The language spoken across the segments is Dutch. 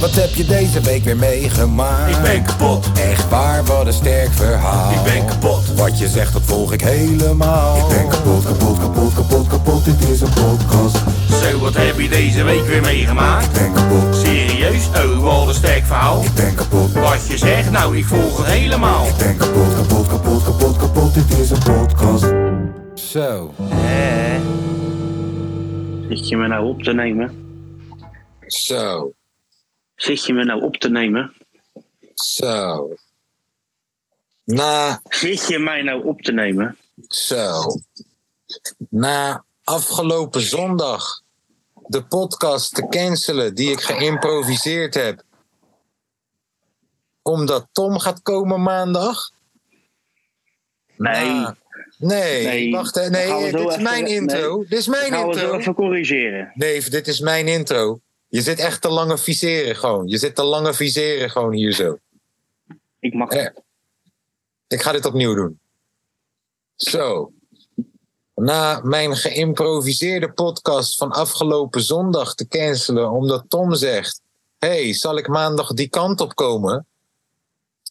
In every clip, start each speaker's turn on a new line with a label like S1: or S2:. S1: Wat heb je deze week weer meegemaakt?
S2: Ik ben kapot.
S1: Echt waar, wat een sterk verhaal.
S2: Ik ben kapot.
S1: Wat je zegt, dat volg ik helemaal.
S3: Ik ben kapot, kapot, kapot, kapot, kapot, dit is een podcast.
S2: Zo, wat heb je deze week weer meegemaakt?
S3: Ik ben kapot,
S2: Serieus? Oh, wat een sterk verhaal.
S3: ik ben kapot.
S2: Wat je zegt, nou, ik volg het helemaal.
S3: Ik ben kapot, kapot, kapot, kapot, kapot, dit is een podcast.
S1: Zo.
S4: Zit je me nou op te nemen?
S1: Zo.
S4: Zit je me nou op te nemen?
S1: Zo. Na,
S4: Zit je mij nou op te nemen?
S1: zo. Na afgelopen zondag de podcast te cancelen die ik geïmproviseerd heb. Omdat Tom gaat komen maandag?
S4: Nee.
S1: Na- nee,
S4: Nee.
S1: wacht. Hè.
S4: Dan gaan we
S1: Nee,
S4: zo
S1: dit is
S4: even-
S1: mijn
S4: nee.
S1: intro. Dit is mijn
S4: Gaan we het
S1: intro.
S4: even corrigeren.
S1: Nee, dit is mijn intro. Je zit echt te lange viseren gewoon. Je zit te lange viseren gewoon hier zo.
S4: Ik mag
S1: Eh. Ik ga dit opnieuw doen. Zo. Na mijn geïmproviseerde podcast van afgelopen zondag te cancelen omdat Tom zegt: hey, zal ik maandag die kant op komen?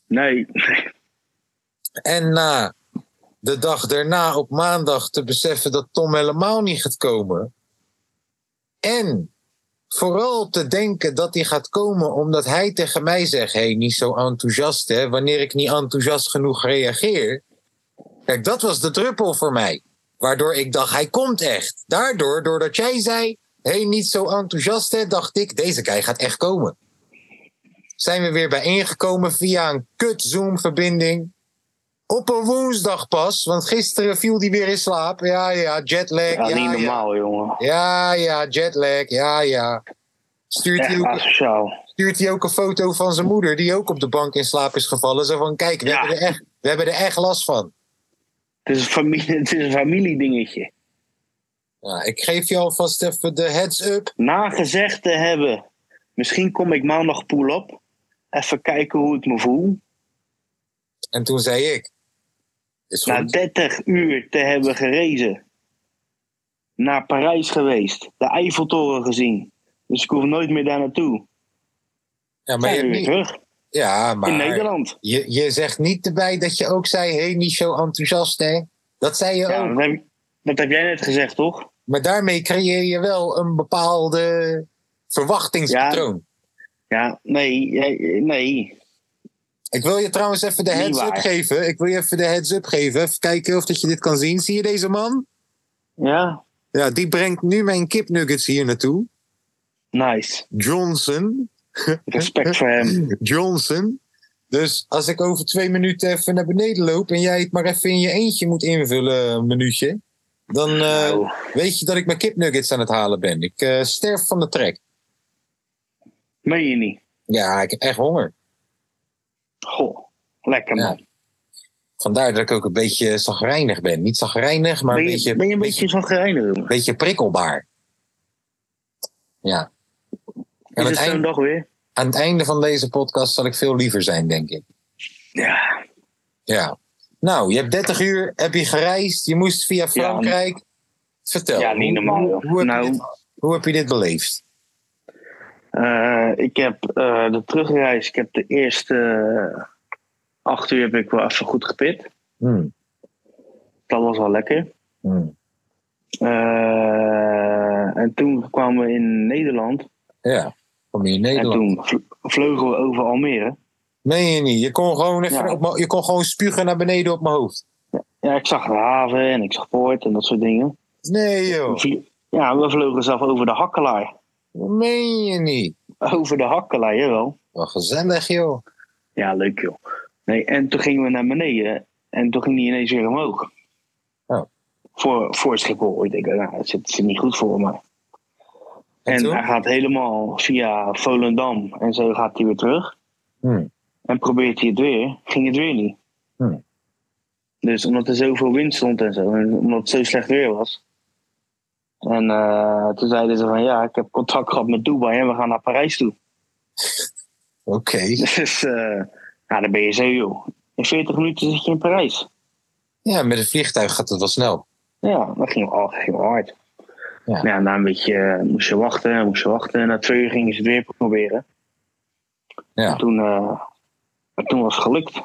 S4: Nee.
S1: En na de dag daarna op maandag te beseffen dat Tom helemaal niet gaat komen. En vooral te denken dat hij gaat komen omdat hij tegen mij zegt: hey, niet zo enthousiast hè, wanneer ik niet enthousiast genoeg reageer. Kijk, dat was de druppel voor mij. Waardoor ik dacht: hij komt echt. Daardoor, doordat jij zei: hey, niet zo enthousiast hè, dacht ik: deze guy gaat echt komen. Zijn we weer bijeengekomen via een kut Zoom-verbinding. Op een woensdag pas, want gisteren viel die weer in slaap. Ja, ja, jetlag.
S4: Ja,
S1: Ja,
S4: niet
S1: ja,
S4: normaal, jongen.
S1: ja, ja, jetlag, ja, ja. Stuurt hij,
S4: Echt
S1: ook,
S4: asociaal.
S1: stuurt hij ook een foto van zijn moeder, die ook op de bank in slaap is gevallen. Zo van, kijk, we,
S4: Ja.
S1: hebben, er echt, we hebben er echt last van.
S4: Het is een, familie, het is een familiedingetje.
S1: Ja, ik geef je alvast even de heads up.
S4: Na gezegd te hebben, misschien kom ik maandag poel op. Even kijken hoe ik me voel.
S1: En toen zei ik, is
S4: Na
S1: goed.
S4: 30 uur te hebben gerezen. Naar Parijs geweest. De Eiffeltoren gezien. Dus ik hoef nooit meer daar naartoe.
S1: Ja, maar,
S4: Zijn
S1: je,
S4: we
S1: hebt
S4: weer
S1: niet,
S4: terug.
S1: ja,
S4: In
S1: maar
S4: Nederland.
S1: je, je zegt niet erbij dat je ook zei, hey, niet zo enthousiast, hè. Dat zei je
S4: Ja,
S1: ook.
S4: dat, heb, dat heb jij net gezegd, toch?
S1: Maar daarmee creëer je wel een bepaalde verwachtingspatroon.
S4: Ja, nee, jij- nee.
S1: Ik wil je trouwens even de
S4: Niet
S1: heads up
S4: waar.
S1: geven. Ik wil je even de heads up geven. Even kijken of dat je dit kan zien. Zie je deze man?
S4: Ja,
S1: Ja, die brengt nu mijn kipnuggets hier naartoe.
S4: nice.
S1: Johnson.
S4: Respect voor hem.
S1: Johnson. Dus als ik over twee minuten even naar beneden loop en jij het maar even in je eentje moet invullen, een minuutje, dan eh,
S4: Nou,
S1: weet je dat ik mijn kipnuggets aan het halen ben. Ik eh, sterf van de trek.
S4: meen je niet?
S1: Ja, ik heb echt honger.
S4: Goh, lekker
S1: Ja,
S4: man.
S1: Vandaar dat ik ook een beetje zagrijnig ben. Niet zagrijnig, maar
S4: ben,
S1: een
S4: je,
S1: beetje,
S4: ben je een beetje van
S1: een
S4: jongen?
S1: beetje prikkelbaar. Ja.
S4: Is
S1: Aan
S4: het
S1: het,
S4: zo'n
S1: eind-
S4: dag weer?
S1: aan het einde van deze podcast zal ik veel liever zijn, denk ik.
S4: Ja,
S1: Ja. Nou, je hebt 30 uur, heb je gereisd, je moest via Frankrijk. Vertel.
S4: ja niet
S1: hoe-
S4: normaal.
S1: Hoe, hoe
S4: joh.
S1: heb je
S4: Nou,
S1: dit, hoe heb je dit beleefd?
S4: eh, ik heb eh, de terugreis, ik heb de eerste eh, acht uur heb ik wel even goed gepit.
S1: Hmm,
S4: Dat was wel lekker.
S1: hmm.
S4: Eh, en toen kwamen we in Nederland.
S1: Ja, kom je in Nederland.
S4: En toen vl- vlogen we over Almere.
S1: Nee, je niet. Je kon, gewoon even
S4: Ja.
S1: op mijn- je kon gewoon spugen naar beneden op mijn hoofd.
S4: Ja, ik zag de haven en ik zag poort en dat soort dingen.
S1: Nee, joh.
S4: Ja, we vlogen zelf over de Hakkelaar.
S1: Dat meen je niet.
S4: Over de Hakkelaar, jawel.
S1: Wel gezellig, joh.
S4: Ja, leuk joh. Nee, en toen gingen we naar beneden en toen ging die ineens weer omhoog.
S1: Oh.
S4: Voor, voor Schiphol. Ik denk, nou, dat zit, zit niet goed voor me.
S1: En
S4: En
S1: toen?
S4: hij gaat helemaal via Volendam en zo gaat hij weer terug.
S1: Hmm.
S4: En probeert hij het weer, ging het weer niet.
S1: Hmm.
S4: Dus omdat er zoveel wind stond en zo, en omdat het zo slecht weer was. En eh, toen zeiden ze van ja, ik heb contact gehad met Dubai en we gaan naar Parijs toe.
S1: Oké.
S4: Dus eh nou, dan ben je zo joh. In 40 minuten zit je in Parijs.
S1: Ja, met een vliegtuig gaat het wel snel.
S4: Ja, dat ging al ging wel hard.
S1: Ja.
S4: Ja. Nou, na een beetje eh, moest je wachten, moest je wachten. Na twee uur gingen ze het weer proberen.
S1: Ja.
S4: En toen, eh, en toen was het gelukt.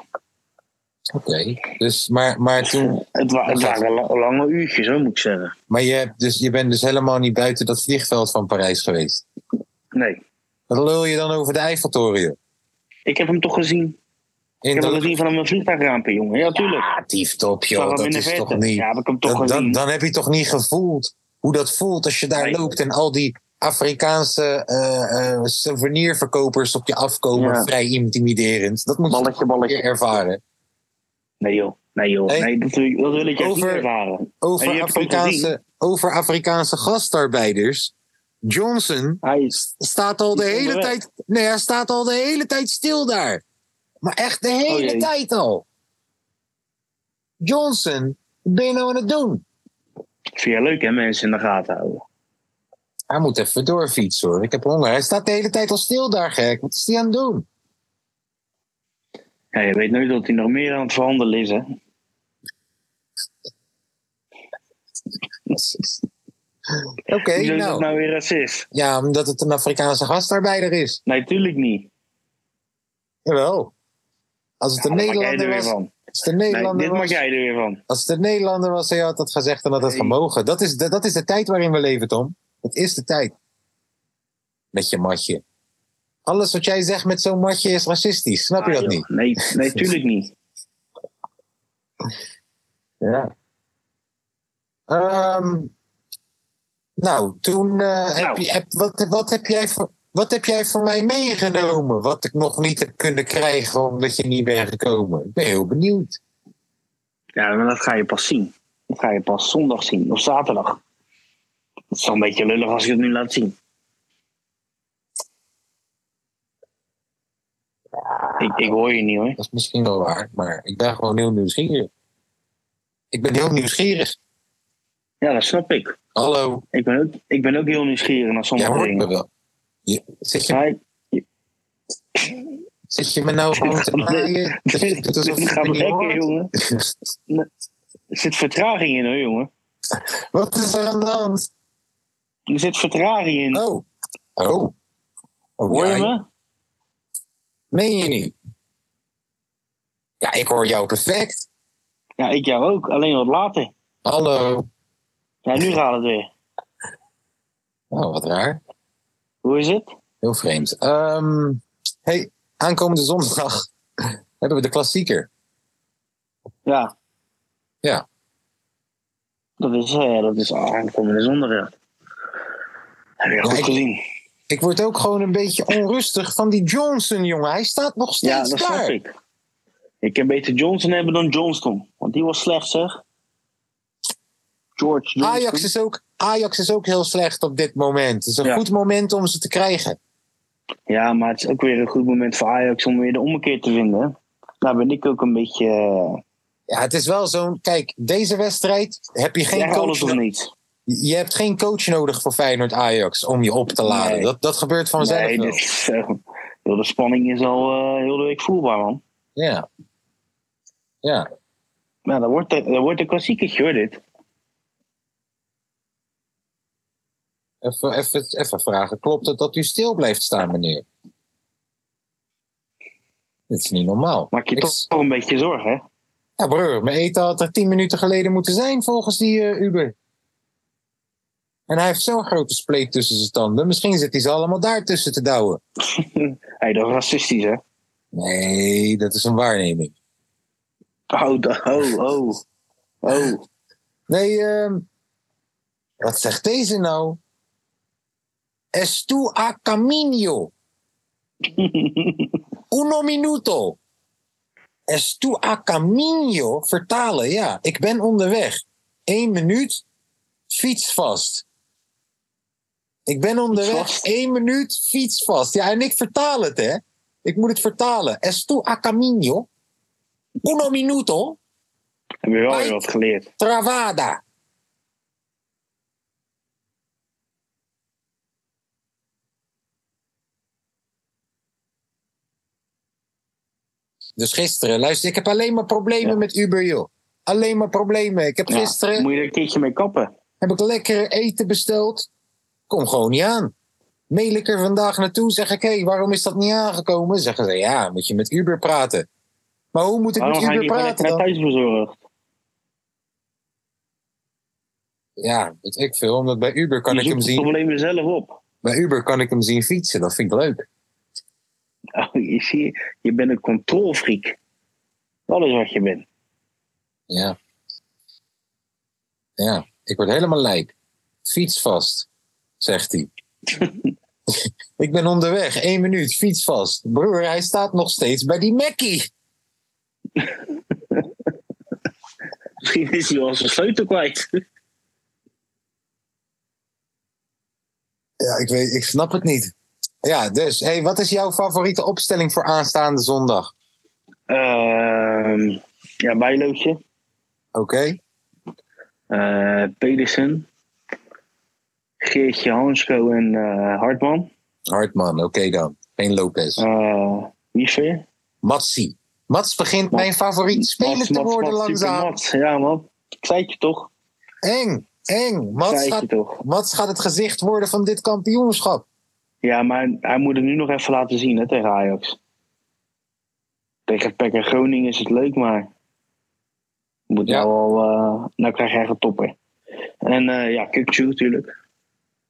S1: Oké. Dus, maar, maar, toen,
S4: Het, wa- het
S1: Dat-
S4: waren la- lange uurtjes, hoor, moet ik zeggen.
S1: maar je, hebt dus, je bent dus helemaal niet buiten dat vliegveld van Parijs geweest.
S4: Nee,
S1: Wat lul je dan over de Eiffeltoren? joh?
S4: ik heb hem toch gezien.
S1: In
S4: Ik heb
S1: dat-
S4: hem gezien vanaf mijn vliegtuigraampje, jongen. Ja, tuurlijk.
S1: Ah, dieftop,
S4: Ik zag
S1: joh.
S4: hem
S1: Dat
S4: in de
S1: is
S4: verte.
S1: toch niet...
S4: Ja, heb ik hem toch
S1: dan, dan,
S4: gezien.
S1: dan heb je toch niet gevoeld hoe dat voelt als je daar
S4: Nee.
S1: loopt en al die Afrikaanse eh, eh, souvenirverkopers op je afkomen.
S4: Ja.
S1: Vrij intimiderend. Dat moet je
S4: Balletje,
S1: toch
S4: balletje.
S1: weer ervaren.
S4: Nee joh, nee joh.
S1: Hey.
S4: Nee, dat, wil- dat wil ik juist
S1: Over-
S4: niet ervaren. En
S1: Over
S4: je hebt hem
S1: Afrikaanse,
S4: gezien.
S1: over Afrikaanse gastarbeiders. Johnson
S4: Hij is...
S1: staat al de
S4: Die is
S1: hele
S4: onderweg.
S1: tijd. Nee, hij staat al de hele tijd stil daar. Maar echt de hele
S4: Oh, jee.
S1: tijd al. Johnson, wat ben je nou aan het doen?
S4: Ik Vind je leuk hè, mensen in de gaten houden.
S1: Hij moet even doorfietsen hoor. Ik heb honger. Hij staat de hele tijd al stil daar, gek. Wat is hij aan het doen?
S4: Ja, je weet nooit dat hij nog meer aan het verhandelen is hè.
S1: Oké,
S4: Hoezo is dat
S1: nou.
S4: nou weer racist?
S1: Ja, omdat het een Afrikaanse gastarbeider is.
S4: Nee, tuurlijk niet.
S1: Jawel. Als het
S4: Ja,
S1: een
S4: Ah, daar maak jij
S1: Nederlander
S4: er weer
S1: was.
S4: van.
S1: Als het een
S4: Nee,
S1: Nederlander
S4: dit maak
S1: was.
S4: jij er weer van.
S1: Als het een Nederlander was, hij had dat gezegd en had het
S4: Nee.
S1: gemogen. Dat is, de, dat is de tijd waarin we leven, Tom. Dat is de tijd. Met je matje. Alles wat jij zegt met zo'n matje is racistisch. Snap je
S4: Ah,
S1: dat
S4: joh.
S1: niet?
S4: Nee, nee, tuurlijk niet.
S1: Ja. Ehm, nou, toen eh, heb
S4: Nou.
S1: je, heb, wat, wat, heb jij voor, wat heb jij voor mij meegenomen? Wat ik nog niet heb kunnen krijgen omdat je niet bent gekomen. Ik ben heel benieuwd.
S4: Ja, maar dat ga je pas zien. Dat ga je pas zondag zien, of zaterdag. Het is wel een beetje lullig als je het nu laat zien. Ik, ik hoor je niet hoor.
S1: Dat is misschien wel waar, maar ik ben gewoon heel nieuwsgierig. Ik ben heel nieuwsgierig.
S4: Ja, dat snap ik.
S1: Hallo,
S4: Ik ben ook, ik ben ook heel nieuwsgierig naar
S1: jij
S4: sommige
S1: hoort me
S4: dingen.
S1: wel. Je- zit, je,
S4: Maar ik-
S1: zit je me nou gewoon te naaien? Dat je doet
S4: dit
S1: alsof je
S4: gaat
S1: me niet
S4: lekker,
S1: hoort?
S4: jongen. Er zit vertraging in, hoor, jongen.
S1: Wat is er aan de hand?
S4: Er zit vertraging in.
S1: Oh. Oh. oh
S4: Hm. hoor je
S1: ja,
S4: me?
S1: Meen je niet? Ja, ik hoor jou perfect.
S4: Ja, ik jou ook. Alleen wat later.
S1: Hallo.
S4: Ja, nu gaat het weer.
S1: Oh, wat raar.
S4: Hoe is het?
S1: Heel vreemd. Ehm, hey, aankomende zondag hebben we de klassieker.
S4: Ja.
S1: Ja.
S4: Dat is, eh, dat is aankomende zondag, ja. Heb je goed
S1: ik-
S4: gezien.
S1: Ik word ook gewoon een beetje onrustig van die Johnson, jongen. Hij staat nog
S4: Ja,
S1: steeds
S4: dat
S1: klaar.
S4: snap ik. Ik kan beter Johnson hebben dan Johnston. Want die was slecht, zeg. George Johnston.
S1: Ajax is, ook, Ajax is ook heel slecht op dit moment. Het is een
S4: Ja.
S1: goed moment om ze te krijgen.
S4: Ja, maar het is ook weer een goed moment voor Ajax om weer de ommekeer te vinden. hè. Daar ben ik ook een beetje. eh,
S1: Ja, het is wel zo'n... Kijk, deze wedstrijd heb je geen
S4: ja, alles
S1: coach
S4: of
S1: no-
S4: niet.
S1: Je hebt geen coach nodig voor Feyenoord-Ajax om je op te laden.
S4: Nee.
S1: Dat, dat gebeurt vanzelf
S4: Nee,
S1: wel.
S4: dit is, eh, heel de spanning is al eh, heel de week voelbaar, man.
S1: Ja. Ja.
S4: Ja, dat wordt, dat wordt een klassiekertje hoor, dit.
S1: Even, even, even vragen. Klopt het dat u stil blijft staan, meneer? Dit is niet normaal.
S4: Maak je
S1: Ik-
S4: toch wel een beetje zorgen, hè?
S1: Ja, broer, mijn eten had er tien minuten geleden moeten zijn volgens die eh, Uber. En hij heeft zo'n grote spleet tussen zijn tanden. Misschien zit hij ze allemaal daar tussen te douwen.
S4: Hey, dat is racistisch, hè?
S1: Nee, dat is een waarneming.
S4: Oh, da- oh, oh. Oh,
S1: Nee, ehm, wat zegt deze nou? Es tu a camino. Uno minuto. Es tu a camino. Vertalen, ja. Ik ben onderweg. Eén minuut. Fiets vast. Ik ben onderweg.
S4: vast?
S1: Eén minuut. Fiets vast. Ja, en ik vertaal het, hè. Ik moet het vertalen. Es tu a camino. Uno minuto.
S4: heb je wel
S1: Maar-
S4: weer wat geleerd.
S1: Travada. Dus gisteren, luister, ik heb alleen maar problemen
S4: Ja.
S1: met Uber, joh. Alleen maar problemen. Ik heb
S4: Ja,
S1: gisteren
S4: moet je er een keertje mee kappen.
S1: heb ik lekker eten besteld. Kom gewoon niet aan. Mail ik er vandaag naartoe, zeg ik, hé, hey, waarom is dat niet aangekomen? Zeggen ze, ja, moet je met Uber praten. Maar hoe moet ik
S4: Waarom
S1: met
S4: ga je
S1: Uber
S4: niet gewoon
S1: praten
S4: lekker naar
S1: dan?
S4: thuis bezorgd?
S1: Ja, weet ik veel, omdat bij Uber kan
S4: Je
S1: ik hem
S4: zoekt het
S1: zien.
S4: probleem zelf op.
S1: Bij Uber kan ik hem zien fietsen, dat vind ik leuk.
S4: Oh, je, ziet, je bent een controlfreak. Alles wat je bent.
S1: Ja. Ja, ik word helemaal lijk. Fiets vast, zegt hij. ik ben onderweg, één minuut, fiets vast. Broer, hij staat nog steeds bij die Mackie.
S4: Misschien is hij wel zijn sleutel kwijt.
S1: Ja, ik, weet, ik snap het niet. Ja, dus, hey, wat is jouw favoriete opstelling voor aanstaande zondag?
S4: Ehm, ja, Bijlootje.
S1: Oké,
S4: eh Pedersen. Geertje Hansko en eh, Hartman.
S1: Hartman, oké dan. Geen Lopez.
S4: eh Wiefer.
S1: Matsi. Mats begint
S4: Mats-
S1: mijn favoriete speler
S4: Mats,
S1: te
S4: Mats,
S1: worden
S4: Mats,
S1: langzaam.
S4: super Mats. Ja, man. Ik zei het je toch?
S1: Eng, eng.
S4: Ik
S1: Mats
S4: zei het
S1: gaat,
S4: je toch?
S1: Mats gaat het gezicht worden van dit kampioenschap.
S4: Ja, maar hij moet het nu nog even laten zien hè, tegen Ajax. Tegen PEC en Groningen is het leuk, maar... Moet
S1: Ja.
S4: nou al... eh, nou krijg je echt een topper. En eh, ja, Kukchu natuurlijk.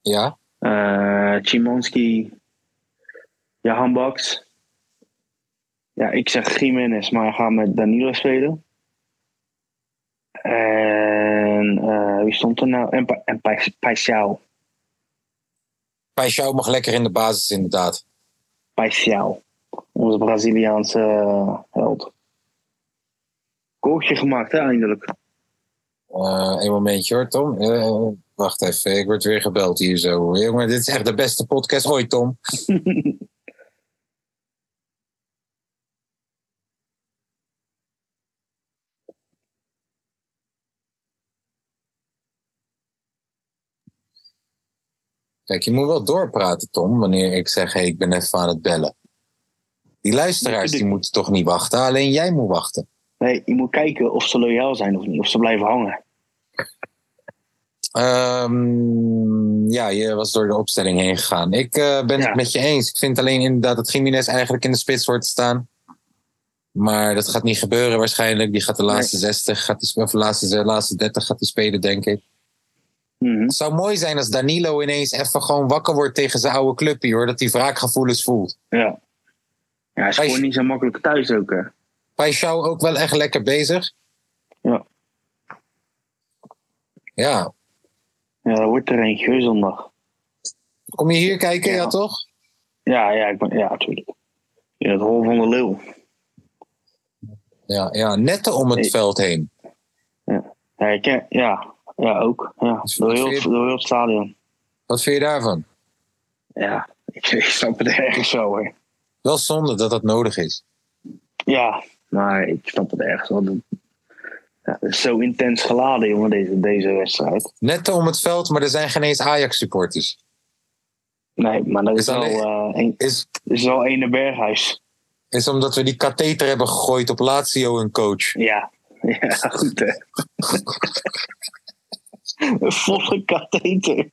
S1: Ja,
S4: eh Chimanski. Ja, Hambaks. Ja, ik zeg Jiménez, maar ga met Danilo spelen. En eh, wie stond er nou? En, Pa- en Pais- Paisao.
S1: Peixou mag lekker in de basis inderdaad.
S4: Paisao. Onze Braziliaanse eh, held. Koortje gemaakt, hè, eindelijk.
S1: Eh een momentje hoor, Tom. Eh, wacht even, ik word weer gebeld hier zo. Jongen, dit is echt de beste podcast ooit, Tom. Kijk, je moet wel doorpraten, Tom, wanneer ik zeg, hey, ik ben even aan het bellen. Die luisteraars die moeten toch niet wachten, alleen jij moet wachten.
S4: Nee, je moet kijken of ze loyaal zijn of niet. Of ze blijven hangen.
S1: Ehm, ja, je was door de opstelling heen gegaan. Ik eh, ben
S4: Ja.
S1: het met je eens. Ik vind alleen inderdaad dat Jiménez eigenlijk in de spits hoort te staan. Maar dat gaat niet gebeuren waarschijnlijk. Die gaat de laatste 60, gaat die, sp- of de laatste, de laatste 30 gaat die spelen, denk ik.
S4: Mhm.
S1: Het zou mooi zijn als Danilo ineens even gewoon wakker wordt tegen zijn oude clubje, hoor. Dat hij wraakgevoelens voelt.
S4: Ja. Ja, hij is
S1: Hij is-
S4: gewoon niet zo makkelijk thuis ook, hè.
S1: Paixão ook wel echt lekker bezig.
S4: Ja.
S1: Ja,
S4: Ja, dat wordt er eentje hoor, zondag.
S1: kom je hier kijken, ja,
S4: Ja.
S1: toch?
S4: Ja, ja, ik ben, ja, natuurlijk. In het hol van de leeuw.
S1: Ja, ja, netten om het
S4: Nee.
S1: veld heen.
S4: Ja, ik ken- ja, ja ook. Ja, door, heel, het- door heel het stadion.
S1: Wat vind je daarvan?
S4: Ja, ik, ik snap het ergens wel hoor.
S1: Wel zonde dat dat nodig is.
S4: Ja, maar ik snap het ergens wel. Dat- Ja, het is zo intens geladen, jongen, deze, deze wedstrijd.
S1: Net om het veld, maar er zijn geen eens Ajax-supporters.
S4: Nee, maar dat is,
S1: Is dat
S4: wel, eh, een,
S1: Is,
S4: is wel ene berghuis.
S1: is omdat we die katheter hebben gegooid op Lazio en coach.
S4: Ja, ja goed hè. Een volle katheter.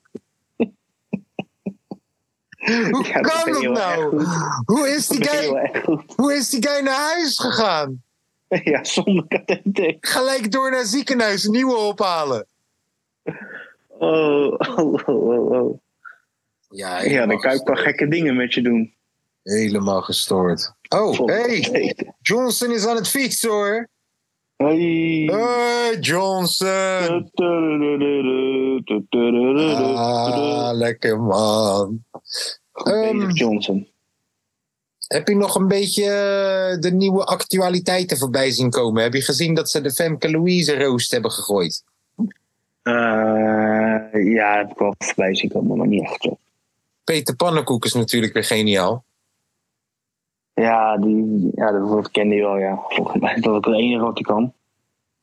S1: Hoe
S4: Ja,
S1: kan
S4: ben
S1: dat
S4: je wel echt
S1: nou?
S4: goed.
S1: Hoe is, die
S4: Ben je wel
S1: guy,
S4: echt goed.
S1: hoe is die guy naar huis gegaan?
S4: Ja, zonder katheter.
S1: Gelijk door naar ziekenhuis, nieuwe ophalen.
S4: Oh, oh, oh, oh.
S1: Ja,
S4: Ja,
S1: helemaal
S4: dan kan ik wel
S1: gestoord.
S4: gekke dingen met je doen.
S1: Helemaal gestoord. Oh,
S4: Zonder
S1: hey,
S4: katheter.
S1: Johnson is aan het fietsen hoor. Eh,
S4: Hey.
S1: ehm. Hey, Johnson. Ah, lekker man.
S4: Goed bezig,
S1: Ehm.
S4: Johnson.
S1: Heb je nog een beetje eh, de nieuwe actualiteiten voorbij zien komen? Heb je gezien dat ze de Femke Louise roost hebben gegooid?
S4: Eh, ja, heb ik wel voorbij zien komen, maar niet echt. hoor.
S1: Peter Pannenkoek is natuurlijk weer geniaal.
S4: Ja, die, ja, dat dat kende je wel, ja. Volgens mij is dat ook het enige wat hij kan.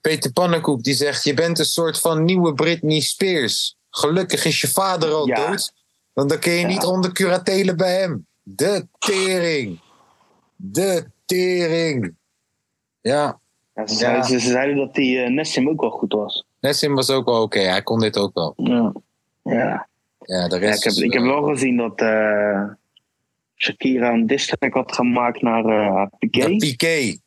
S1: Peter Pannenkoek die zegt: Je bent een soort van nieuwe Britney Spears. Gelukkig is je vader al
S4: Ja.
S1: dood, want dan kun je
S4: Ja.
S1: niet onder curatelen bij hem. De tering. De tering. Ja,
S4: Ja, ze,
S1: Ja.
S4: zeiden, ze zeiden dat die eh, Nessim ook wel goed was.
S1: Nessim was ook wel oké. Hij kon dit ook wel.
S4: Ja. ja.
S1: Ja, de
S4: Ja,
S1: rest
S4: ik, heb,
S1: is,
S4: ik heb
S1: eh,
S4: wel gezien dat eh, Shakira een distrack had gemaakt naar eh Piqué.
S1: dat Piqué.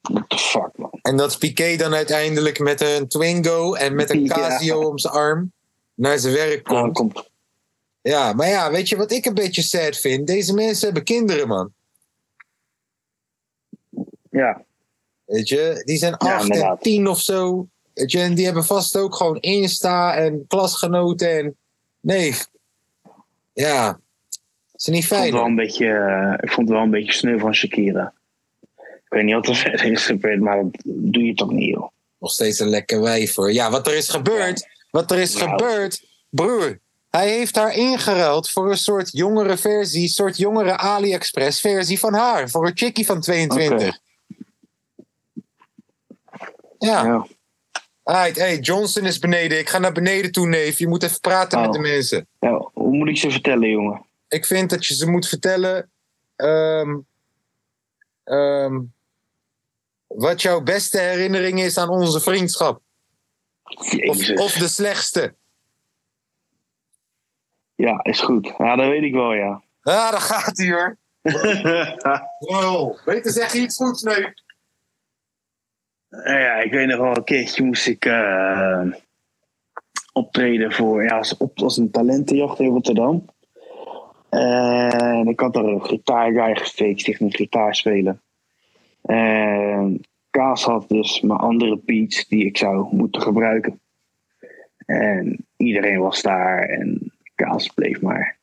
S4: What the fuck, man.
S1: En dat Piqué dan uiteindelijk met een Twingo en met een
S4: Ja.
S1: Casio om zijn arm naar zijn werk
S4: Ah,
S1: komt.
S4: komt.
S1: Ja, maar ja, weet je wat ik een beetje sad vind? Deze mensen hebben kinderen, man.
S4: Ja,
S1: Weet je, die zijn
S4: Ja,
S1: acht en
S4: inderdaad.
S1: tien of zo. Weet je, en die hebben vast ook gewoon Insta en klasgenoten en... Nee. Ja. Is niet
S4: ik vond,
S1: fijn.
S4: het wel
S1: hoor.
S4: een beetje, eh, ik vond het wel een beetje sneu van Shakira. Ik weet niet wat er verder is gebeurd, maar dat doe je toch niet, joh.
S1: Nog steeds een lekker wijf hoor. Ja, wat er is gebeurd. Wat er is
S4: Nou.
S1: gebeurd. Broer, hij heeft haar ingeruild voor een soort jongere versie. Een soort jongere AliExpress versie van haar. Voor een chickie van 22. Ja.
S4: Ja.
S1: Alright, hey, Johnson is beneden. Ik ga naar beneden toe, neef. Je moet even praten
S4: Oh.
S1: met de mensen.
S4: Ja, hoe moet ik ze vertellen, jongen?
S1: Ik vind dat je ze moet vertellen. ehm, ehm, wat jouw beste herinnering is aan onze vriendschap. Of,
S4: Jezus.
S1: of de slechtste.
S4: Ja, is goed. Ja, dat weet ik wel, ja.
S1: Ah, daar gaat hij hoor. Wow. Beter zeg je iets goeds, nee.
S4: Nou ja, ik weet nog wel, een keertje moest ik eh, optreden voor, ja, als, op, als een talentenjacht in Rotterdam. En ik had daar een gitaarguy gefaked, die ging gitaar spelen. En Kaas had dus mijn andere beats die ik zou moeten gebruiken. En iedereen was daar en Kaas bleef maar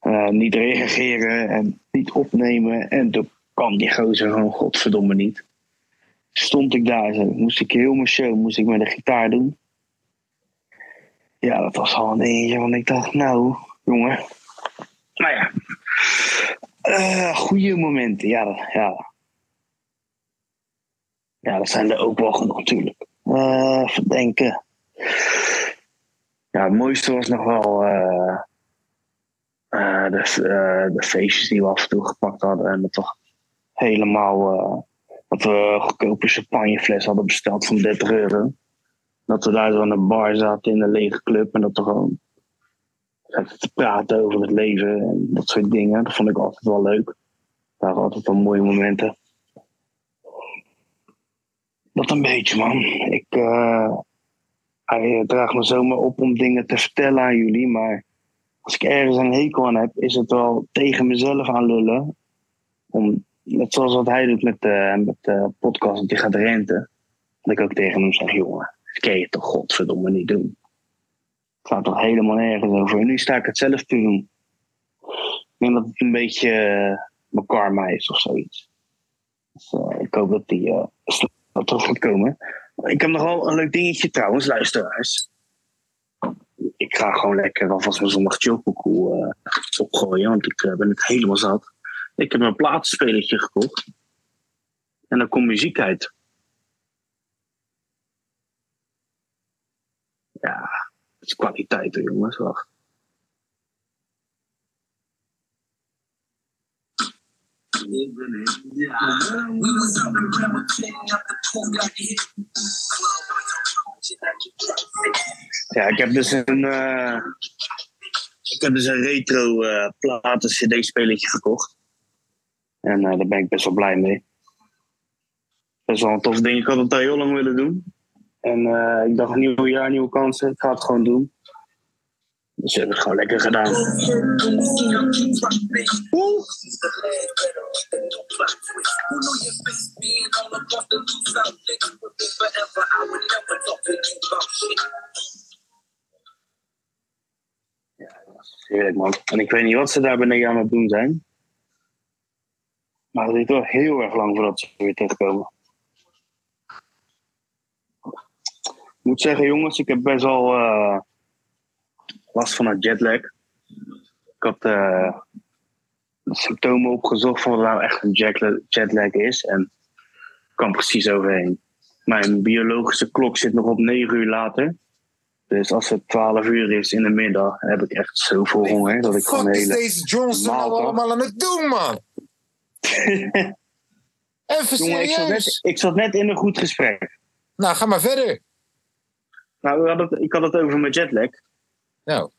S4: eh, niet reageren en niet opnemen. En toen kwam die gozer gewoon godverdomme niet stond ik daar zo. Moest ik heel mijn show moest ik met de gitaar doen. Ja, dat was al een eentje, want ik dacht, nou, jongen. Nou ja. Eh, goede momenten, ja, dat- ja. Ja, dat zijn er ook wel genoeg, natuurlijk. Eh, even denken. Ja, het mooiste was nog wel eh, eh, de, eh, de feestjes die we af en toe gepakt hadden. En dat toch helemaal eh, dat we een goedkope champagnefles hadden besteld van 30 euro. Dat we daar zo aan de bar zaten in een lege club en dat we gewoon zaten te praten over het leven en dat soort dingen. Dat vond ik altijd wel leuk. Dat waren altijd wel mooie momenten. Dat een beetje, man. Ik, eh, hij eh, draagt me zomaar op om dingen te vertellen aan jullie, maar als ik ergens een hekel aan heb, is het wel tegen mezelf aan lullen. Om Net zoals wat hij doet met de met, eh, podcast, dat hij gaat renten. Dat ik ook tegen hem zeg, jongen, dat kan je toch godverdomme niet doen. Het gaat toch helemaal nergens over. En nu sta ik het zelf te doen. Ik denk dat het een beetje eh, mijn karma is of zoiets. Dus eh, ik hoop dat die eh snel terug gaat komen. Ik heb nog wel een leuk dingetje trouwens, luisteraars. Ik ga gewoon lekker alvast mijn zondag chillpokoe eh, opgooien, want ik eh, ben het helemaal zat. Ik heb een plaatsspelertje gekocht. En daar komt muziek uit. Ja, dat is kwaliteit hoor, jongens. Wacht. Ja, ik heb dus een, eh, ik heb dus een retro eh platen CD-spelertje gekocht. En eh, daar ben ik best wel blij mee. Best wel een tof ding. Ik had het al heel lang willen doen. En eh, ik dacht, nieuw jaar, nieuwe kansen. Ik ga het gewoon doen. Dus ik heb het gewoon lekker gedaan. Heerlijk, man. En ik weet niet wat ze daar beneden aan het doen zijn. Maar het duurt wel heel erg lang voordat ze weer terugkomen. Ik moet zeggen, jongens, ik heb best wel eh, last van een jetlag. Ik had eh, de symptomen opgezocht van wat nou echt een jetla- jetlag is. En ik kwam precies overheen. Mijn biologische klok zit nog op 9 uur later. Dus als het 12 uur is in de middag, heb ik echt zoveel honger dat ik gewoon
S1: Fuck
S4: een
S1: is
S4: hele
S1: deze Johnson
S4: Maal,
S1: nou
S4: toch?
S1: allemaal aan het doen, man? Even
S4: Jongen, ik zat, net,
S1: serieus.
S4: ik zat net in een goed gesprek.
S1: Nou, ga maar verder.
S4: Nou, we hadden het- ik had het over mijn jetlag.
S1: Nou.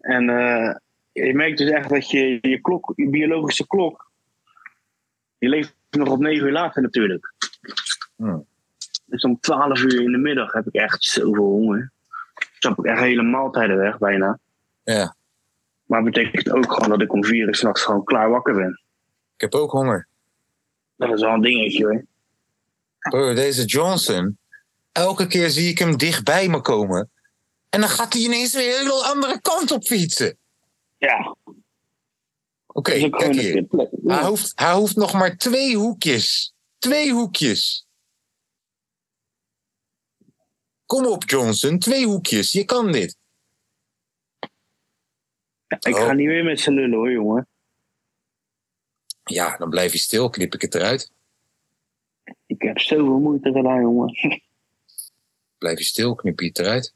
S4: En eh, je merkt dus echt dat je je klok, je biologische klok, je leeft nog op negen uur later natuurlijk.
S1: Hmm.
S4: Dus om twaalf uur in de middag heb ik echt zoveel honger. Dan heb ik echt hele maaltijden weg bijna.
S1: Ja.
S4: Maar het betekent ook gewoon dat ik om vier uur s'nachts gewoon klaar wakker ben.
S1: Ik heb ook honger.
S4: Dat is wel een dingetje hoor.
S1: Bro, deze Johnson. Elke keer zie ik hem dichtbij me komen. En dan gaat hij ineens weer een hele andere kant op fietsen.
S4: Ja,
S1: Oké,
S4: dat is ook
S1: kijk
S4: gewoon
S1: hier. Ah,
S4: een kutplek. Ja.
S1: Hij, hoeft, hij hoeft nog maar twee hoekjes. Twee hoekjes. Kom op, Johnson. Twee hoekjes. Je kan dit.
S4: Ik
S1: oh.
S4: ga niet meer met z'n lullen hoor, jongen.
S1: Ja, dan blijf je stil. Knip ik het eruit.
S4: Ik heb zoveel moeite gedaan, jongen.
S1: Blijf je stil. Knip je het eruit.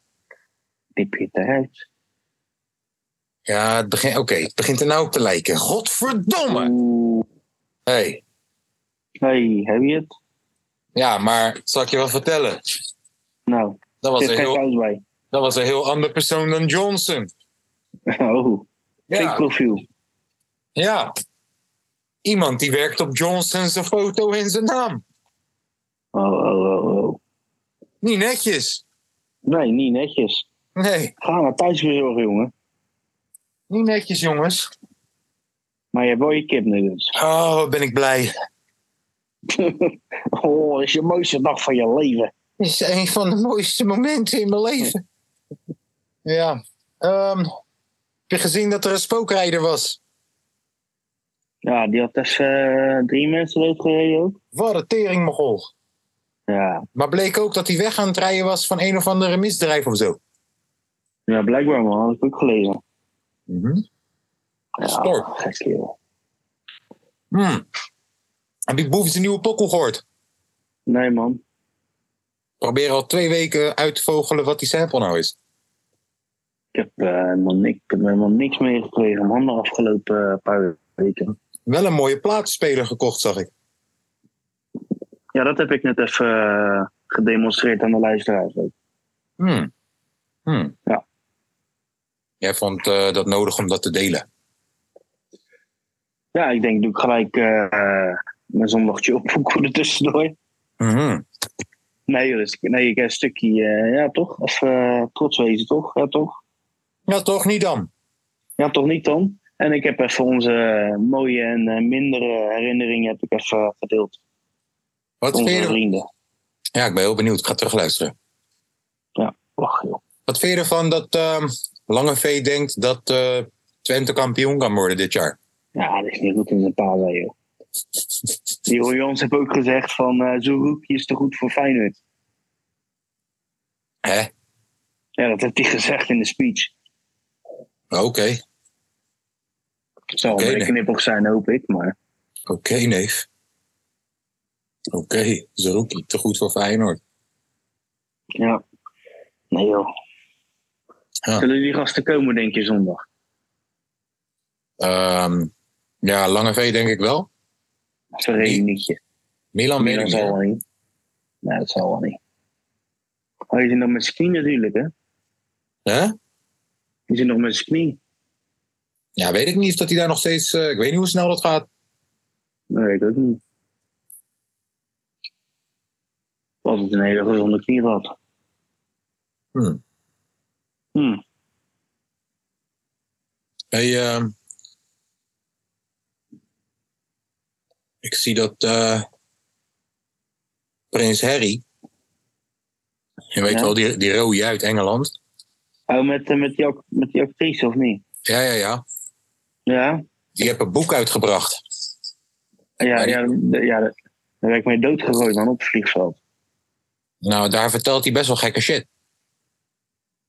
S4: Knip je het eruit.
S1: Ja, het begint... Oké, het begint er nou op te lijken. Godverdomme!
S4: Oeh.
S1: Hé, hey.
S4: Hey, heb je het?
S1: ja, maar zal ik je wel vertellen?
S4: Nou,
S1: Dat was,
S4: zit
S1: een
S4: geen
S1: heel,
S4: saus bij.
S1: dat was een heel ander persoon dan Johnson.
S4: Oh, fake
S1: Ja,
S4: profiel.
S1: ja. Iemand die werkt op Johnson zijn foto en zijn naam.
S4: Oh, oh, oh, oh.
S1: Niet netjes.
S4: Nee, niet netjes.
S1: Nee,
S4: Ga maar thuis bezorgen, jongen.
S1: niet netjes, jongens.
S4: Maar je hebt wel je dus. kipnuggets.
S1: Oh, wat ben ik blij.
S4: oh, dat is je mooiste dag van je leven.
S1: Dit is een van de mooiste momenten in mijn leven. Ja. ehm, heb je gezien dat er een spookrijder was?
S4: Ja, die had even eh, drie mensen doodgereden ook.
S1: Wat een teringmogol.
S4: Ja.
S1: Maar bleek ook dat hij weg aan het rijden was van een of andere misdrijf of zo.
S4: ja, blijkbaar man. Had ik ook gelezen.
S1: Mhm.
S4: Ja,
S1: Stork.
S4: gek kerel.
S1: Hmm. Heb je Boef zijn nieuwe pokkel gehoord?
S4: Nee man.
S1: Probeer al twee weken uit te vogelen wat die sample nou is.
S4: Ik heb, eh, helemaal, niks, ik heb helemaal niks meegekregen man de afgelopen eh, paar weken.
S1: Wel een mooie plaatspeler gekocht, zag ik.
S4: Ja, dat heb ik net even eh, gedemonstreerd aan de luisteraars ook.
S1: Hmm. Hmm.
S4: Ja.
S1: Jij vond eh, dat nodig om dat te delen.
S4: Ja, ik denk doe ik gelijk eh, eh, mijn zondagje opvoeken er tussendoor.
S1: Mhm.
S4: Nee, joh, dus, nee, ik heb een stukje, eh, ja toch? Of eh, trots wezen toch? Ja toch?
S1: Ja, toch niet dan?
S4: Ja toch niet dan? En ik heb even onze mooie en eh, mindere herinneringen heb ik even gedeeld.
S1: Wat
S4: Met
S1: vind je
S4: onze
S1: er-
S4: vrienden.
S1: Ja, ik ben heel benieuwd. Ik ga terugluisteren.
S4: Wacht joh.
S1: Wat vind je ervan dat ehm Lange V denkt dat eh, Twente kampioen kan worden dit jaar?
S4: Ja, dat is niet goed in zijn paal, zei joh. Die hoor Jans heeft ook gezegd van eh zo'n roekje is te goed voor Feyenoord.
S1: Hè?
S4: Ja, dat heeft hij gezegd in de speech.
S1: Oké.
S4: Het zal
S1: Oké,
S4: wel een
S1: nee.
S4: knippig zijn, hoop ik, maar
S1: Oké, neef. Oké, Zerouki, te goed voor Feyenoord.
S4: ja. Nee joh.
S1: Ja.
S4: Zullen die gasten komen, denk je, zondag?
S1: Ehm, ja, Lange V denk ik wel.
S4: Verreden nietje.
S1: Milan, weet
S4: Milan
S1: ik
S4: zal
S1: niet.
S4: wel niet. Nee, dat zal wel niet. Oh, je zit nog met ski natuurlijk, hè?
S1: Hè?
S4: Je zit nog met ski.
S1: Ja, weet ik niet of dat hij daar nog steeds... eh, ik weet niet hoe snel dat gaat.
S4: Dat weet ik ook niet. Was het een hele gezonde knie gehad.
S1: Hmm.
S4: Hmm.
S1: Hey, ehm, ik zie dat eh, prins Harry, je weet
S4: Ja.
S1: wel, die, die rode uit Engeland.
S4: Oh, met, eh, met, die, ac- met die actrice, of niet?
S1: Ja, ja, ja.
S4: Ja?
S1: Die hebben een boek uitgebracht.
S4: Ja,
S1: Maar die-
S4: ja, d- ja d- daar werd ik mee doodgegooid, man, op het vliegveld.
S1: Nou, daar vertelt hij best wel gekke shit.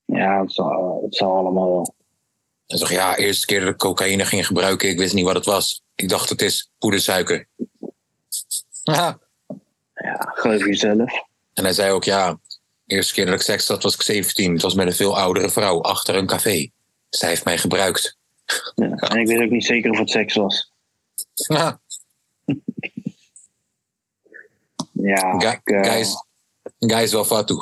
S4: Ja, het zal, het zal allemaal wel.
S1: Hij zegt, ja, eerste keer dat ik cocaïne ging gebruiken, ik wist niet wat het was. Ik dacht, het is poedersuiker. Ja.
S4: Ja, geloof jezelf.
S1: En hij zei ook, ja, de eerste keer dat ik seks had was ik 17. Het was met een veel oudere vrouw achter een café. Zij heeft mij gebruikt.
S4: Ja. En ik weet ook niet zeker of het seks was.
S1: Ja.
S4: Ja,
S1: Guy,
S4: ik, eh,
S1: guys, guys wel fatu.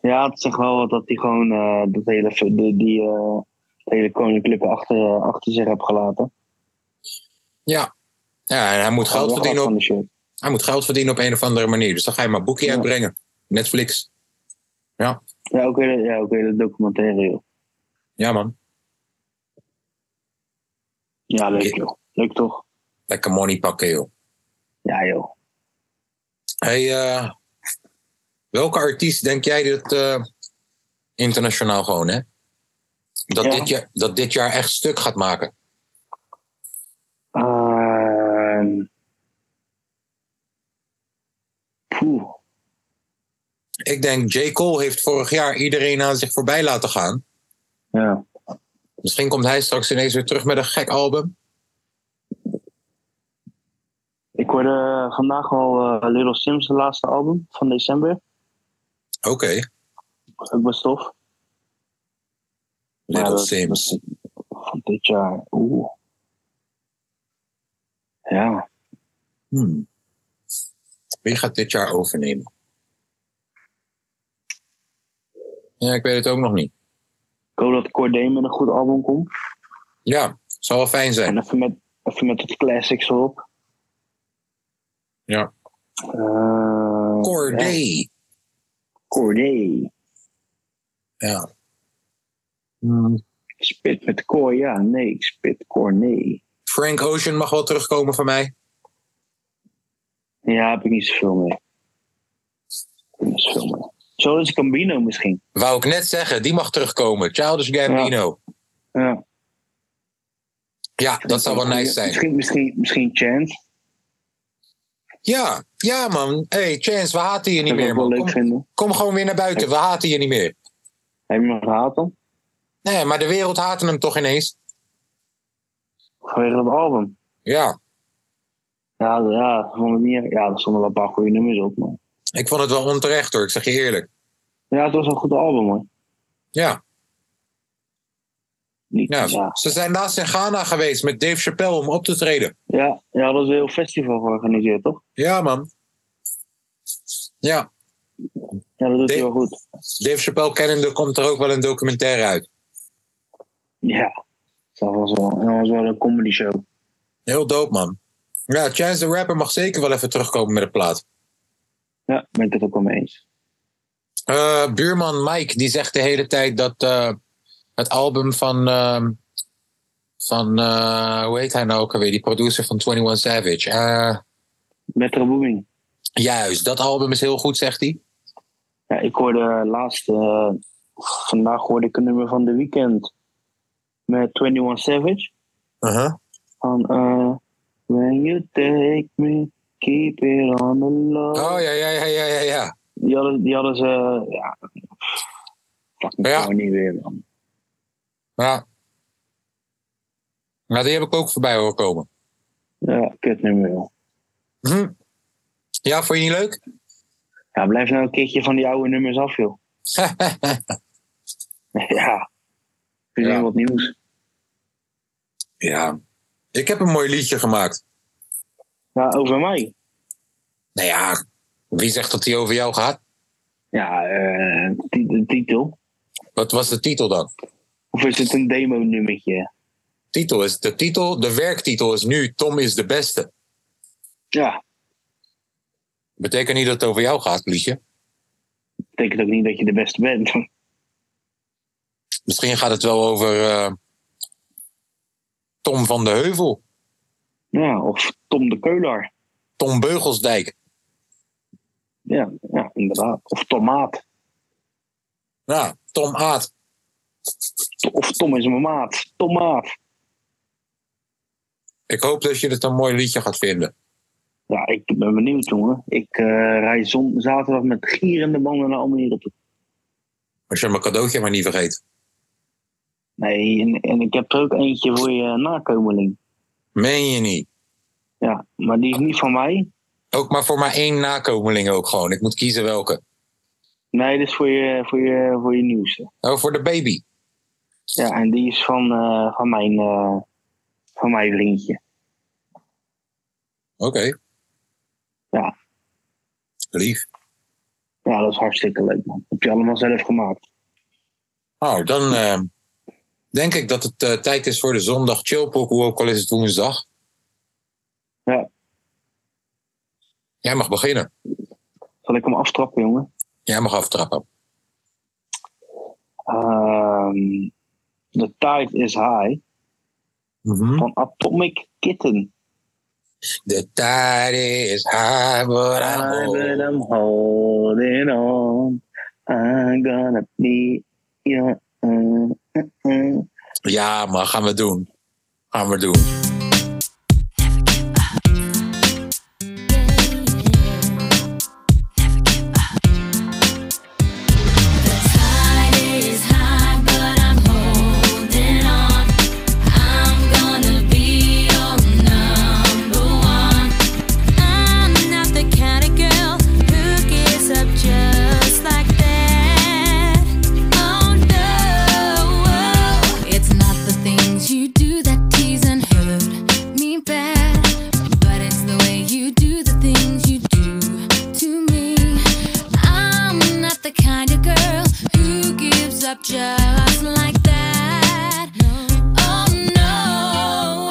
S4: Ja, het zegt wel wat dat hij gewoon eh, dat hele, die, die, eh, het hele koninklijke achter, achter zich heeft gelaten.
S1: Ja. Ja, en hij moet geld
S4: Wel
S1: verdienen
S4: af
S1: op
S4: van de shirt.
S1: Hij moet geld verdienen op een of andere manier. Dus dan ga je maar boekje
S4: Ja.
S1: uitbrengen. Netflix.
S4: Ja, ook weer, ja, ook weer de documentaire, joh.
S1: Ja, man.
S4: Ja, leuk,
S1: Oké.
S4: joh. Leuk toch?
S1: Lekker money pakken, joh.
S4: Ja, joh.
S1: Hey, eh, welke artiest denk jij dat eh, internationaal gewoon, hè? Dat,
S4: Ja.
S1: dit jaar, dat dit jaar echt stuk gaat maken.
S4: Ehm. poeh.
S1: Ik denk, J. Cole heeft vorig jaar iedereen aan zich voorbij laten gaan.
S4: Ja.
S1: Misschien komt hij straks ineens weer terug met een gek album.
S4: Ik hoorde eh, vandaag al eh Little Sims' laatste album van december.
S1: Oké,
S4: Dat was tof.
S1: Little
S4: Maar dat-
S1: Sims.
S4: Van dit jaar. Oeh. Ja.
S1: Hmm. Wie gaat dit jaar overnemen? Ja, ik weet het ook nog niet.
S4: Ik hoop dat Corday met een goed album komt.
S1: Ja, zou wel fijn zijn.
S4: En even met, even met het classics erop.
S1: Ja.
S4: Eh, ja,
S1: Corday.
S4: Corday.
S1: Ja. Hmm.
S4: Ik Spit met koor, ja. Nee, ik spit koor, nee.
S1: Frank Ocean mag wel terugkomen van mij.
S4: Ja, heb ik niet zoveel mee. Heb ik Niet zoveel mee. Zo is Gambino misschien.
S1: Wou ik net zeggen, die mag terugkomen. Childish Gambino. Ja,
S4: Ja.
S1: dat zou wel nice zijn.
S4: Misschien, misschien, misschien Chance.
S1: Ja, ja man. Hey Chance, we haten je niet
S4: Dat zou
S1: meer
S4: ik wel
S1: man.
S4: leuk
S1: Kom,
S4: vinden.
S1: kom gewoon weer naar buiten, we haten je niet meer.
S4: Heb je hem gehaald dan?
S1: Nee, maar de wereld haatte hem toch ineens.
S4: Vanwege dat album.
S1: Ja,
S4: Ja, d- ja, ik vond het niet, ja, er stonden wel een paar goede nummers op. Maar.
S1: ik vond het wel onterecht hoor, ik zeg je eerlijk.
S4: Ja, het was een goed album hoor.
S1: Ja.
S4: Niet,
S1: Ja,
S4: ja.
S1: ze-
S4: Ja.
S1: Ze zijn laatst in Ghana geweest met Dave Chappelle om op te treden.
S4: Ja, dat is een heel festival georganiseerd toch?
S1: Ja, man. Ja,
S4: Ja, dat doet hij
S1: Nee.
S4: wel goed.
S1: Dave Chappelle kennende komt er ook wel een documentaire uit.
S4: Ja, dat was wel, dat was wel een comedy show.
S1: Heel dope, man. Ja, Chance the Rapper mag zeker wel even terugkomen met een plaat.
S4: Ja, ben ik het ook wel mee eens.
S1: Eh, buurman Mike, die zegt de hele tijd dat eh, het album van... ehm, van, eh, hoe heet hij nou ook alweer? Die producer van 21 Savage. Eh,
S4: Metro Booming.
S1: juist, dat album is heel goed, zegt hij.
S4: Ja, ik hoorde laatst, eh, vandaag hoorde ik een nummer van The Weeknd met 21 Savage. Van eh, When You Take Me, Keep It On The Low.
S1: Oh, ja, ja, ja, ja, ja, ja.
S4: Die hadden, die hadden ze, eh, ja. Fuck, ik
S1: Ja.
S4: kan niet weer, man.
S1: Ja. Nou, die heb ik ook voorbij horen komen.
S4: Ja, kut nummer. joh.
S1: Hm. Ja, vond je niet leuk?
S4: Ja, blijf nou een keertje van die oude nummers af, joh. ja. Verzin
S1: Ja.
S4: wat nieuws.
S1: ja. Ik heb een mooi liedje gemaakt.
S4: Ja, over mij.
S1: Nou ja, wie zegt dat die over jou gaat?
S4: Ja, eh, ti- de titel.
S1: Wat was de titel dan?
S4: Of is het een demo-nummertje?
S1: Titel is, de, titel, de werktitel is nu Tom is de beste.
S4: Ja,
S1: Betekent niet dat het over jou gaat, liedje.
S4: betekent ook niet dat je de beste bent.
S1: Misschien gaat het wel over eh, Tom van de Heuvel,
S4: Ja, of Tom de Keular.
S1: Tom Beugelsdijk.
S4: Ja, ja inderdaad. Of Tomaat.
S1: Nou, Tom Aad.
S4: Of Tom is mijn maat. Tomaat.
S1: Ik hoop dat je het een mooi liedje gaat vinden.
S4: Ja, ik ben benieuwd, jongen. Ik eh rij zon, zaterdag met gierende banden naar Almere toe.
S1: Als je mijn cadeautje maar niet vergeet.
S4: Nee, en, en ik heb er ook eentje voor je nakomeling.
S1: Meen je niet?
S4: Ja, maar die is niet van mij.
S1: Ook maar voor maar één nakomeling ook gewoon. Ik moet kiezen welke.
S4: Nee, dit is voor je, voor je, voor je nieuwste.
S1: Oh, voor de baby.
S4: Ja, en die is van, eh, van, mijn, eh, van mijn vriendje.
S1: Oké.
S4: Ja.
S1: Lief.
S4: Ja, dat is hartstikke leuk, man. Heb je allemaal zelf gemaakt.
S5: Oh, dan eh, denk ik dat het eh, tijd is voor de zondag chillpoek, hoe ook al is het woensdag.
S4: Ja.
S5: Jij mag beginnen.
S4: Zal ik hem aftrappen, jongen?
S5: Jij mag aftrappen.
S4: Ehm, the Tide is High
S5: Mhm.
S4: van Atomic Kitten.
S5: De tijd is high, but I'm
S4: But
S5: old.
S4: I'm holding on. I'm gonna be your... uh, uh, uh.
S5: Ja, maar gaan we doen. Gaan we doen.
S6: Just like that. Oh no, it's not the things you do that tease and hurt me bad, but it's the way you do the things you do to me. I'm not the kind of girl who gives up just like that. Oh no,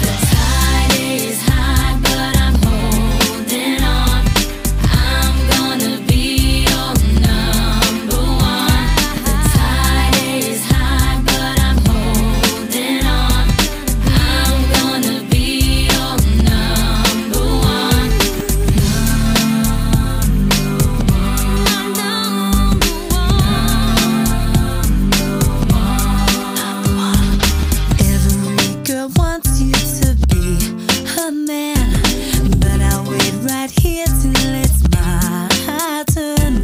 S6: the tide is high, but I'm holding on. I'm gonna be your number one. The tide is high, but I'm holding on. I'm gonna be your number one. Every girl wants you to be her man, but I'll wait right here till it's my turn.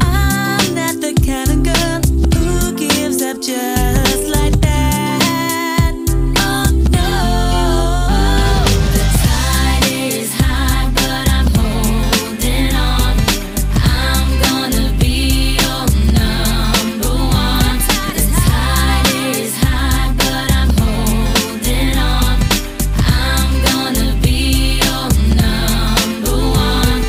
S6: I'm not the kind of girl who gives up just like that. Oh no, the tide is high, but I'm holding on. I'm gonna be your number one. The tide is high, but I'm holding on. I'm gonna be your number one.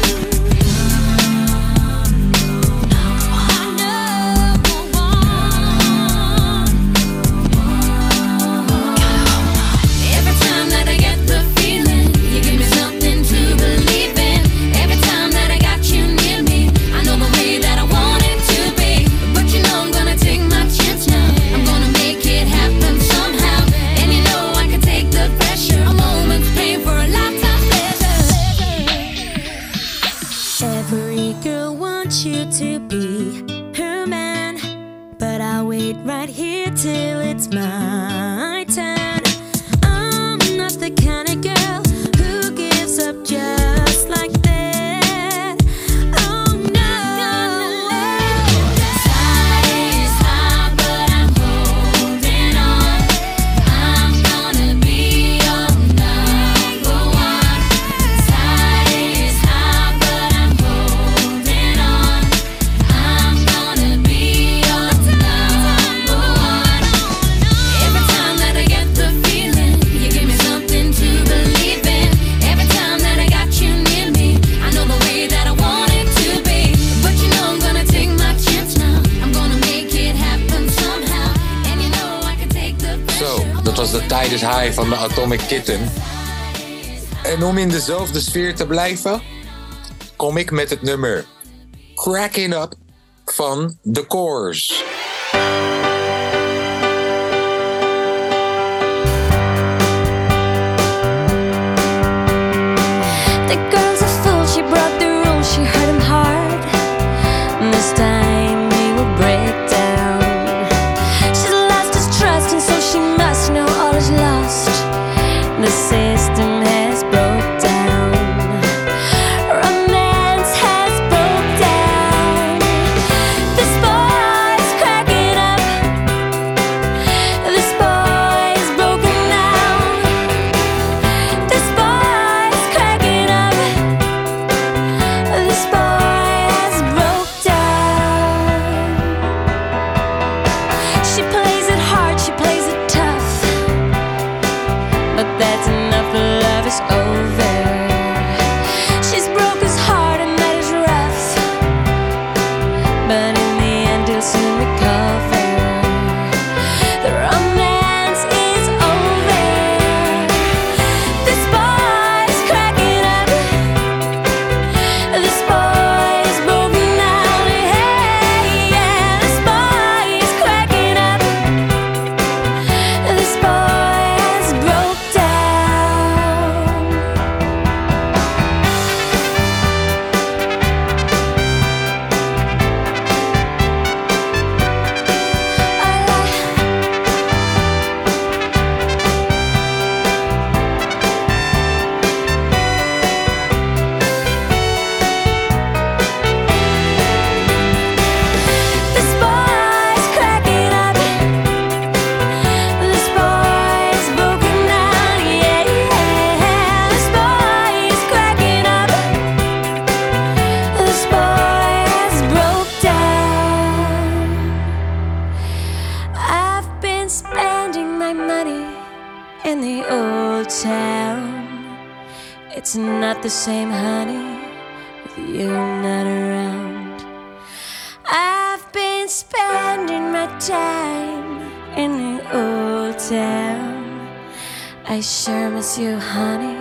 S6: Every time that I get the feeling, you give me something to believe in. Every time that I got you near me, I know the way that I want it to be. But you know I'm gonna take my chance now. I'm gonna make it happen somehow. And you know I can take the pressure. A moment's pain for a lifetime pleasure. Every girl wants you to be her man, but I'll wait right here till it's my turn. I'm not the kind of girl who gives up just like that. Oh no, the tide is high, but I'm holding on. I'm gonna be your number one. Tide is high, but I'm holding on. I'm gonna be your number one. Every time that I get the feeling, you give me something to believe in. Every time that I got you near me, I know the way that I want it to be. But you know I'm gonna take my chance now. I'm gonna make it happen somehow. And you know I can take the
S5: Zo, dat was de Tide is High van de Atomic Kitten. En om in dezelfde sfeer te blijven, kom ik met het nummer Cracking Up van The Coors.
S6: The girl's a fool, she broke the rules, she hurt him hard. And This time he will break down. She's lost his trust, and so she must know all is lost. The system has broke down. Romance has broke down. This boy's crazy. been spending my money in the old town. It's not the same, honey, with you not around. I've been spending my time in the old town. I sure miss you, honey.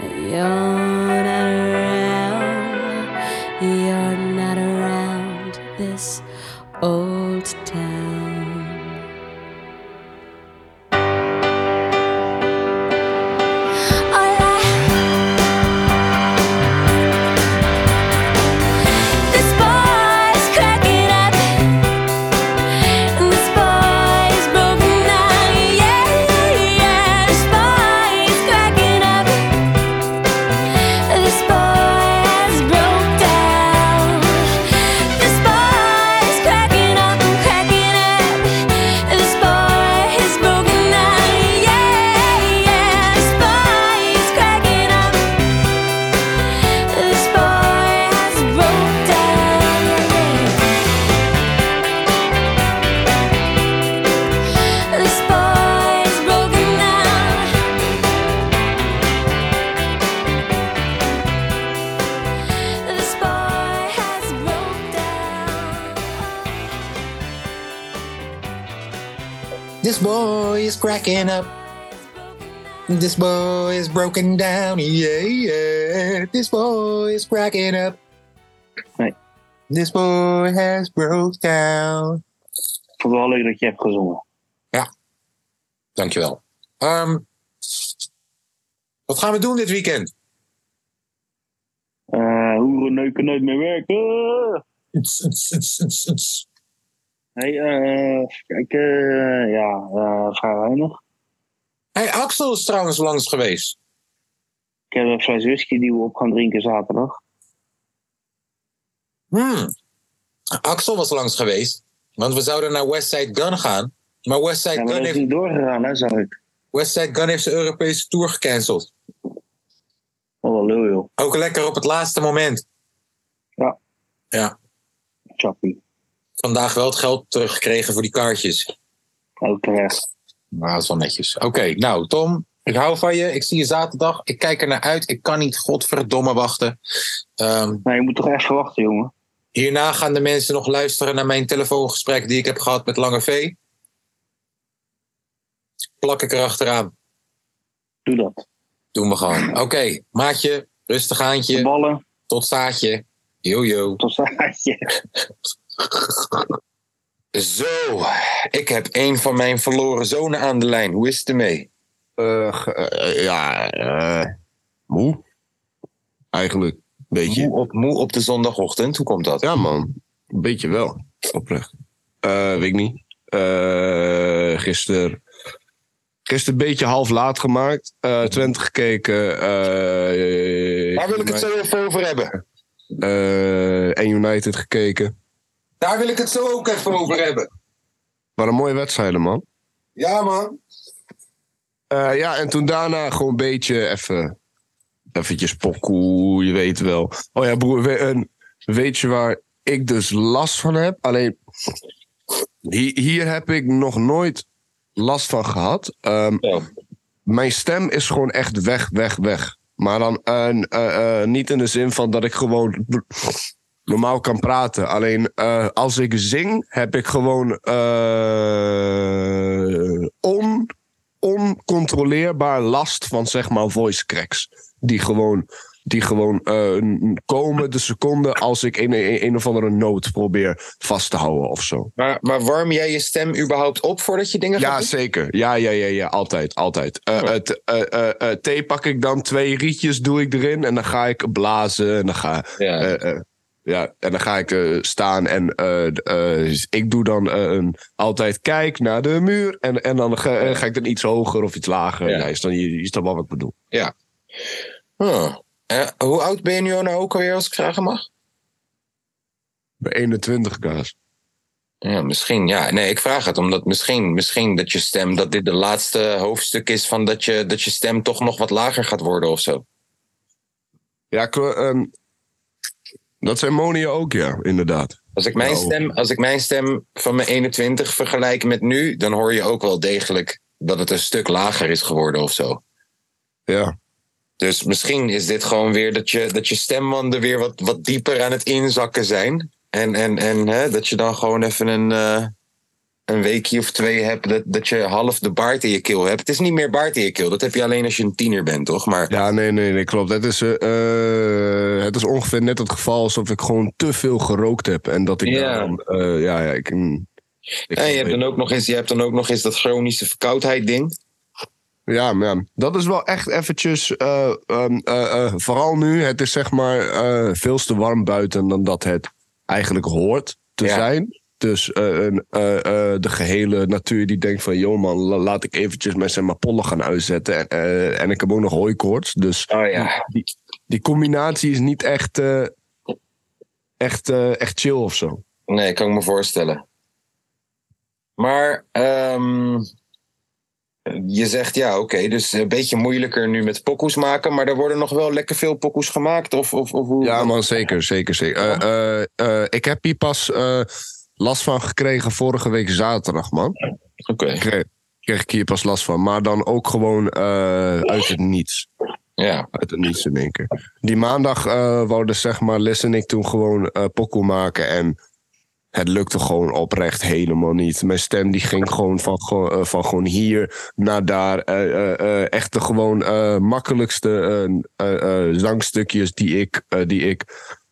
S6: but You're not around. You're not around this old town. Hola. This boy's cracking up. This boy's broken down. Yeah, yeah. This boy's cracking up. This boy has broke down. This boy's cracking up, cracking up. This boy has broken down. Yeah, yeah. This boy is cracking up. This boy has broke down. This boy is broken down. This boy has broke down.
S1: This boy is cracking up. This boy is broken down. Yeah, yeah. This boy is cracking up.
S4: Nee.
S1: This boy has broke down.
S4: Ik vond het wel leuk dat je hebt gezongen.
S1: Dankjewel. Ehm, wat gaan we doen dit weekend?
S4: Eh hoeren neuken nooit meer werken. Nee, eh, even kijken. eh, ja, eh, vrij weinig.
S1: Hey, Axel is trouwens langs geweest.
S4: Ik heb een fles whisky die we op gaan drinken zaterdag.
S1: Hmm. Axel was langs geweest, want we zouden naar Westside Gun gaan. Maar Westside
S4: Ja, maar
S1: Gun
S4: dat is
S1: heeft
S4: niet doorgegaan, hè, zag ik.
S1: Westside Gun heeft zijn Europese tour gecanceld.
S4: Oh, wel lul, joh.
S1: Ook lekker op het laatste moment.
S4: Ja.
S1: Ja.
S4: Chappie.
S1: Vandaag wel het geld teruggekregen voor die kaartjes.
S4: Ook terecht.
S1: Maar dat is wel netjes. Oké, nou Tom, ik hou van je. Ik zie je zaterdag. Ik kijk er naar uit. Ik kan niet godverdomme wachten. Ehm,
S4: Nee, je moet toch even wachten, jongen.
S1: hierna gaan de mensen nog luisteren naar mijn telefoongesprek die ik heb gehad met Lange V. Plak ik erachteraan.
S4: Doe dat.
S1: Doen we gewoon. Oké, maatje. Rustig
S4: De
S1: aantje.
S4: ballen,
S1: Tot zaadje. Jojo.
S4: tot zaadje.
S1: Zo, ik heb een van mijn verloren zonen aan de lijn. Hoe is het ermee?
S7: Eh, eh, ja, eh, moe. Eigenlijk, een beetje.
S1: Moe op, moe op de zondagochtend, hoe komt dat?
S7: Ja, man. Een beetje wel. Oprecht. Eh, weet ik niet. Eh gisteren. Gisteren een beetje half laat gemaakt. Eh Twente gekeken. eh,
S1: Daar wil ik het zo even over hebben.
S7: eh, en United gekeken.
S1: Daar wil ik het zo ook even over hebben.
S7: Maar een mooie wedstrijd, man.
S1: Ja, man.
S7: Eh, ja, en toen daarna gewoon een beetje even. Eventjes pokoe, je weet wel. Oh ja, broer, we- en weet je waar ik dus last van heb? Alleen, hi- hier heb ik nog nooit last van gehad. Ehm,
S1: Ja.
S7: Mijn stem is gewoon echt weg, weg, weg. Maar dan eh, eh, eh, niet in de zin van dat ik gewoon normaal kan praten. Alleen eh, als ik zing, heb ik gewoon eh, on, oncontroleerbaar last van zeg maar voice cracks. Die gewoon, die gewoon eh, n- komen de seconde als ik een, een, een of andere noot probeer vast te houden of zo.
S1: Maar, maar warm jij je stem überhaupt op voordat je dingen
S7: Ja,
S1: gaat doen?
S7: zeker. Ja, ja, ja, ja. Altijd, altijd. Eh,
S1: Oh.
S7: het, eh, eh, eh, thee pak ik dan, twee rietjes doe ik erin en dan ga ik blazen en dan ga
S1: Ja.
S7: eh, eh, ja, en dan ga ik eh, staan en eh, d- eh, ik doe dan eh, een, altijd kijk naar de muur. En, en dan ga, eh, ga ik dan iets hoger of iets lager.
S1: Ja.
S7: Ja. is dan, je, is dan wat ik bedoel.
S1: Huh. Eh, hoe oud ben je nu nou ook alweer, als ik vragen mag?
S7: Bij 21 kaas.
S1: Ja, misschien, ja. Nee, ik vraag het omdat misschien, misschien dat je stem, dat dit de laatste hoofdstuk is van dat je, dat je stem toch nog wat lager gaat worden of zo.
S7: Ja, ik, eh, ehm, dat zijn Monia ook, ja, inderdaad.
S1: Als ik, mijn
S7: Nou.
S1: stem, als ik mijn stem van mijn 21 vergelijk met nu, dan hoor je ook wel degelijk dat het een stuk lager is geworden of zo.
S7: Ja.
S1: Dus misschien is dit gewoon weer dat je, dat je stembanden weer wat, wat dieper aan het inzakken zijn. En, en, en hè, dat je dan gewoon even een, eh, een weekje of twee hebt dat, dat je half de baard in je keel hebt. Het is niet meer baard in je keel. Dat heb je alleen als je een tiener bent, toch? Maar
S7: Ja, nee, nee, nee, klopt. Het is, eh, eh, het is ongeveer net het geval alsof ik gewoon te veel gerookt heb. En dat ik
S1: Ja.
S7: daarom, eh, ja, ja, ik... mm, ik-
S1: en je, hebt dan ook nog eens, je hebt dan ook nog eens dat chronische verkoudheid ding.
S7: Ja, maar ja, dat is wel echt eventjes, eh, ehm, eh, eh, vooral nu, het is zeg maar eh, veel te warm buiten dan dat het eigenlijk hoort te
S1: Ja.
S7: zijn. Dus eh, een, eh, eh, de gehele natuur die denkt van, joh man, la- laat ik eventjes mijn zeg maar, pollen gaan uitzetten. En, eh, en ik heb ook nog hooikoorts, dus
S1: Oh ja.
S7: die, die combinatie is niet echt, eh, echt, eh, echt chill of zo.
S1: Nee, kan ik me voorstellen. Maar ehm, je zegt ja, oké, dus een beetje moeilijker nu met pokoes maken. Maar er worden nog wel lekker veel pokoes gemaakt. Of, of, of hoe,
S7: Ja, man, zeker, zeker, zeker. Eh, eh, eh, ik heb hier pas eh, last van gekregen vorige week zaterdag, man.
S1: Oké,
S7: kreeg, kreeg ik hier pas last van. Maar dan ook gewoon eh, uit het niets.
S1: ja.
S7: Uit het niets in één keer. Die maandag eh wouden zeg maar Les en ik toen gewoon eh pokoe maken. En het lukte gewoon oprecht helemaal niet. Mijn stem die ging gewoon van, gewoon, eh, van gewoon hier naar daar. Eh, eh, eh, echt de gewoon eh, makkelijkste eh, eh, eh, zangstukjes die ik, eh, die ik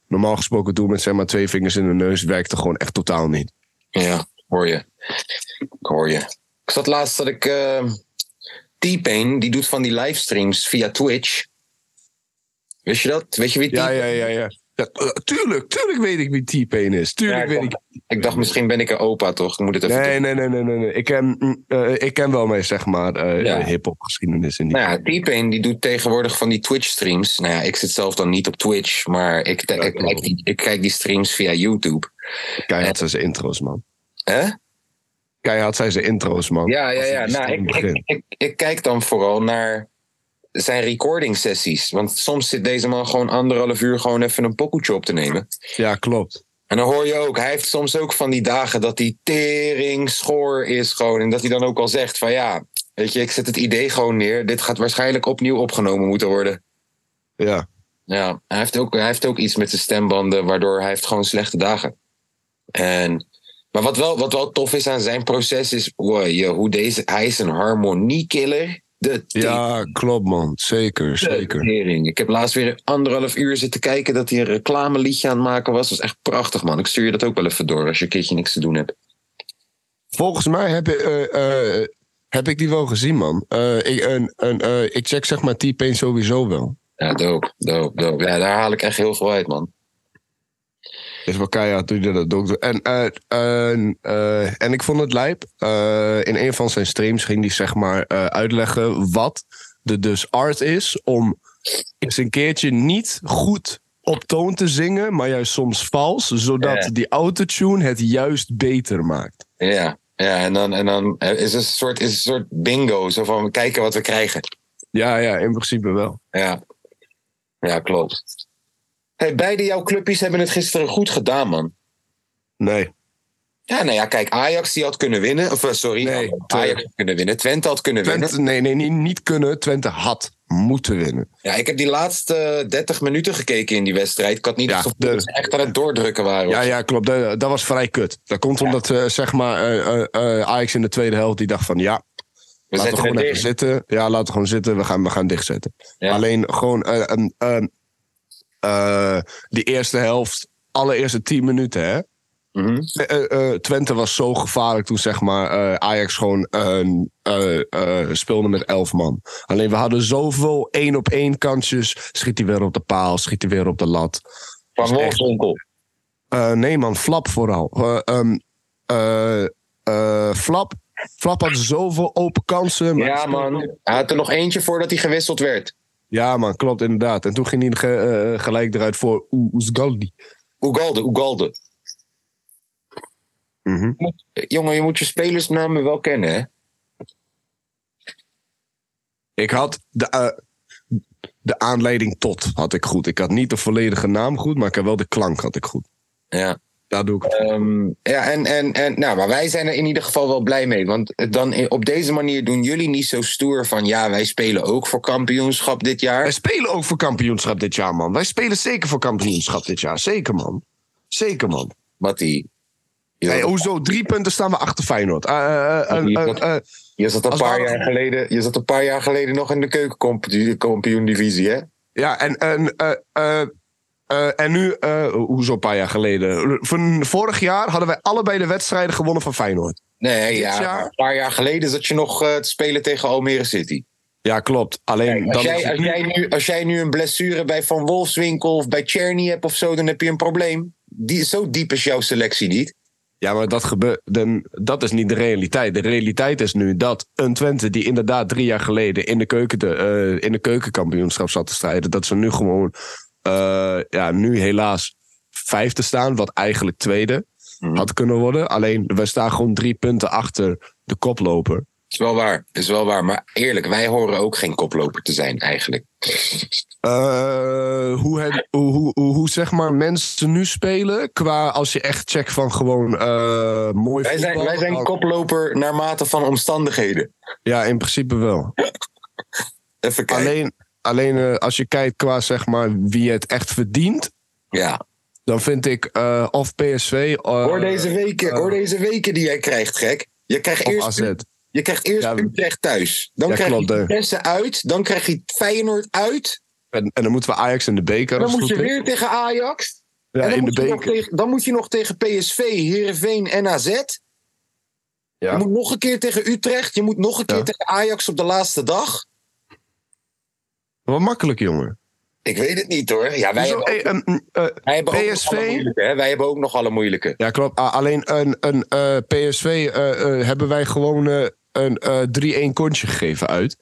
S7: normaal gesproken doe met zeg maar twee vingers in de neus. Werkte gewoon echt totaal niet.
S1: Ja, hoor je. Ik hoor je. Ik zat laatst dat ik... eh, T-Pain, die doet van die livestreams via Twitch. Wist je dat? Weet je wie
S7: Ja,
S1: T-Pain
S7: ja, ja, ja. Ja, eh, tuurlijk, tuurlijk weet ik wie T-Pain is. Tuurlijk
S1: Ja,
S7: weet
S1: ik-
S7: ik.
S1: Ik dacht, misschien ben ik een opa, toch? Ik moet het even
S7: Nee, nee, nee, nee, nee. nee. Ik, ken, mm, eh, ik ken wel mijn, zeg maar, eh
S1: Ja.
S7: hip-hop geschiedenis. In die.
S1: Nou ja, T-Pain die doet tegenwoordig van die Twitch-streams. Nou ja, ik zit zelf dan niet op Twitch, maar ik, te-
S7: Ja,
S1: ik, kijk, die, ik kijk die streams via YouTube.
S7: Keihard zijn zijn intro's, man.
S1: Hè?
S7: Keihard zijn zijn intro's, man.
S1: Ja, ja,
S7: Als je
S1: ja.
S7: die
S1: Nou,
S7: stream
S1: ik, ik,
S7: begint.
S1: ik, ik kijk dan vooral naar zijn recording-sessies. Want soms zit deze man gewoon anderhalf uur gewoon even een pokoetje op te nemen.
S7: Ja, klopt.
S1: En dan hoor je ook, hij heeft soms ook van die dagen dat hij tering schoor is gewoon. En dat hij dan ook al zegt van ja, weet je, ik zet het idee gewoon neer. Dit gaat waarschijnlijk opnieuw opgenomen moeten worden.
S7: Ja.
S1: Ja, hij heeft, ook, hij heeft ook iets met zijn stembanden, waardoor hij heeft gewoon slechte dagen. En, maar wat wel, wat wel tof is aan zijn proces, is wow, je, hoe deze, hij is een harmoniekiller. De
S7: ja, klopt, man. Zeker, zeker.
S1: tering. Ik heb laatst weer anderhalf uur zitten kijken dat hij een reclameliedje aan het maken was. Dat was echt prachtig, man. Ik stuur je dat ook wel even door als je een keertje niks te doen hebt.
S7: Volgens mij heb, ik, eh, eh, heb ik die wel gezien, man. Eh, ik, een, een, eh, ik check, zeg maar, T-Pain sowieso wel.
S1: Ja, dope, dope, dope. Ja, daar haal ik echt heel veel uit, man.
S7: Is wel keihard toen hij dat ook doet. En, eh, en, eh, en ik vond het lijp. Eh, in een van zijn streams ging hij zeg maar eh, uitleggen wat de dus art is om eens een keertje niet goed op toon te zingen, maar juist soms vals, zodat
S1: Ja.
S7: die autotune het juist beter maakt.
S1: Ja, ja en dan, en dan eh, is het een soort, is een soort bingo. Zo van, kijken wat we krijgen.
S7: Ja, ja, in principe wel.
S1: Ja, ja klopt. Hey, beide jouw clubjes hebben het gisteren goed gedaan, man.
S7: Nee.
S1: Ja, nou ja, kijk, Ajax die had kunnen winnen. Of eh, sorry,
S7: Nee,
S1: Ajax
S7: Twente.
S1: had kunnen winnen. Twente had kunnen winnen.
S7: Twente, nee, nee, niet, niet kunnen. Twente had moeten winnen.
S1: Ja, ik heb die laatste 30 minuten gekeken in die wedstrijd. Ik had niet
S7: Ja,
S1: het gevoel
S7: de-
S1: dat ze echt aan het doordrukken waren.
S7: Ja, ja, klopt. Dat, dat was vrij kut. Dat komt omdat eh, zeg maar, eh, eh, eh, Ajax in de tweede helft die dacht van ja,
S1: we
S7: laten
S1: zetten
S7: we gewoon
S1: het
S7: even
S1: dicht.
S7: zitten. Ja, laten we gewoon zitten. We gaan, we gaan dichtzetten.
S1: Ja.
S7: Alleen gewoon eh, ehm, ehm, eh, die eerste helft, allereerste tien minuten. Hè?
S1: Mhm.
S7: Eh, eh, Twente was zo gevaarlijk toen zeg maar, eh, Ajax gewoon eh, eh, eh, speelde met elf man. Alleen we hadden zoveel één op één kansjes. Schiet hij weer op de paal, schiet hij weer op de lat.
S1: Van
S7: Dat is echt-
S1: Wolfswinkel.
S7: eh, nee, man, Flap vooral. Eh, ehm, eh, eh, Flap. Flap had zoveel open kansen. maar-
S1: Ja, man. Hij had er nog eentje voordat hij gewisseld werd.
S7: Ja, man, klopt inderdaad. En toen ging hij ge- eh, gelijk eruit voor Oe- Oezgaldi.
S1: Ugalde, Ugalde.
S7: Mhm.
S1: Eh, Jongen, je moet je spelersnamen wel kennen, hè?
S7: Ik had de, eh, de aanleiding tot had ik goed. Ik had niet de volledige naam goed, maar ik had wel de klank had ik goed.
S1: Ja.
S7: Daar doe ik het. voor.
S1: Ehm, ja, en, en, en, nou, maar wij zijn er in ieder geval wel blij mee. Want het dan i- op deze manier doen jullie niet zo stoer van... ja, wij spelen ook voor kampioenschap dit jaar.
S7: Wij spelen ook voor kampioenschap dit jaar, man. Wij spelen zeker voor kampioenschap dit jaar. Zeker, man. Zeker, man.
S1: Wat die... Je,
S7: Hey,
S1: zat,
S7: hoezo? Drie punten staan we achter Feyenoord. Eh, eh, eh, eh, eh, eh,
S1: je, zat een
S7: als we
S1: paar
S7: hadden-
S1: jaar geleden, je zat een paar jaar geleden nog in de keukenkampioen-divisie, hè?
S7: ja, en, en, eh, eh, eh, en nu, eh, hoezo een paar jaar geleden? Van vorig jaar hadden wij allebei de wedstrijden gewonnen van Feyenoord.
S1: Nee,
S7: Dit
S1: ja,
S7: jaar?
S1: een paar jaar geleden zat je nog eh, te spelen tegen Almere City.
S7: Ja, klopt. Alleen
S1: Als
S7: dan is
S1: jij,
S7: het
S1: als,
S7: nu-
S1: jij nu, als jij nu een blessure bij Van Wolfswinkel of bij Czerny hebt of zo... dan heb je een probleem. Die, zo diep is jouw selectie niet.
S7: Ja, maar dat, gebeurt, dan, dat is niet de realiteit. De realiteit is nu dat een Twente die inderdaad drie jaar geleden in de, keuken de, eh, in de keukenkampioenschap zat te strijden, dat ze nu gewoon, eh, ja, nu helaas vijfde staan, wat eigenlijk tweede
S1: Mhm.
S7: had kunnen worden. Alleen, we staan gewoon drie punten achter de koploper.
S1: Is wel waar, is wel waar. Maar eerlijk, wij horen ook geen koploper te zijn eigenlijk.
S7: Eh, hoe, heb, hoe, hoe, hoe, hoe, zeg maar mensen nu spelen, qua als je echt checkt van gewoon eh mooi
S1: Wij zijn,
S7: voetbal,
S1: wij zijn
S7: dan-
S1: koploper naar mate van omstandigheden.
S7: Ja, in principe wel.
S1: Even kijken.
S7: Alleen, alleen eh, als je kijkt qua zeg maar, wie het echt verdient,
S1: ja.
S7: dan vind ik eh, of PSV. eh,
S1: hoor, deze weken,
S7: eh,
S1: hoor deze weken die jij krijgt, gek. Je krijgt
S7: of
S1: eerst,
S7: AZ.
S1: je krijgt eerst
S7: Ja, we-
S1: Utrecht thuis. Dan
S7: Ja,
S1: krijg
S7: klopt,
S1: je
S7: hè.
S1: Vitesse uit. Dan krijg je Feyenoord uit.
S7: En, en dan moeten we Ajax in de beker.
S1: Dan
S7: als het
S1: moet je
S7: goed is.
S1: weer tegen Ajax.
S7: Ja,
S1: en dan,
S7: in de
S1: moet je nog
S7: beker.
S1: tegen, dan moet je nog tegen PSV, Heerenveen en AZ.
S7: Ja.
S1: Je moet nog een keer tegen Utrecht. Je moet nog een keer
S7: Ja.
S1: tegen Ajax op de laatste dag.
S7: Wat makkelijk, jongen.
S1: Ik weet het niet hoor. Ja, wij
S7: Hoezo?
S1: hebben
S7: Hey, een- een, eh,
S1: Wij hebben
S7: PSV?
S1: ook nog alle moeilijke, hè? Wij hebben ook nog alle moeilijke.
S7: ja, klopt. Ah, alleen een, een eh, PSV eh, eh, hebben wij gewoon eh, een eh 3-1 kontje gegeven uit.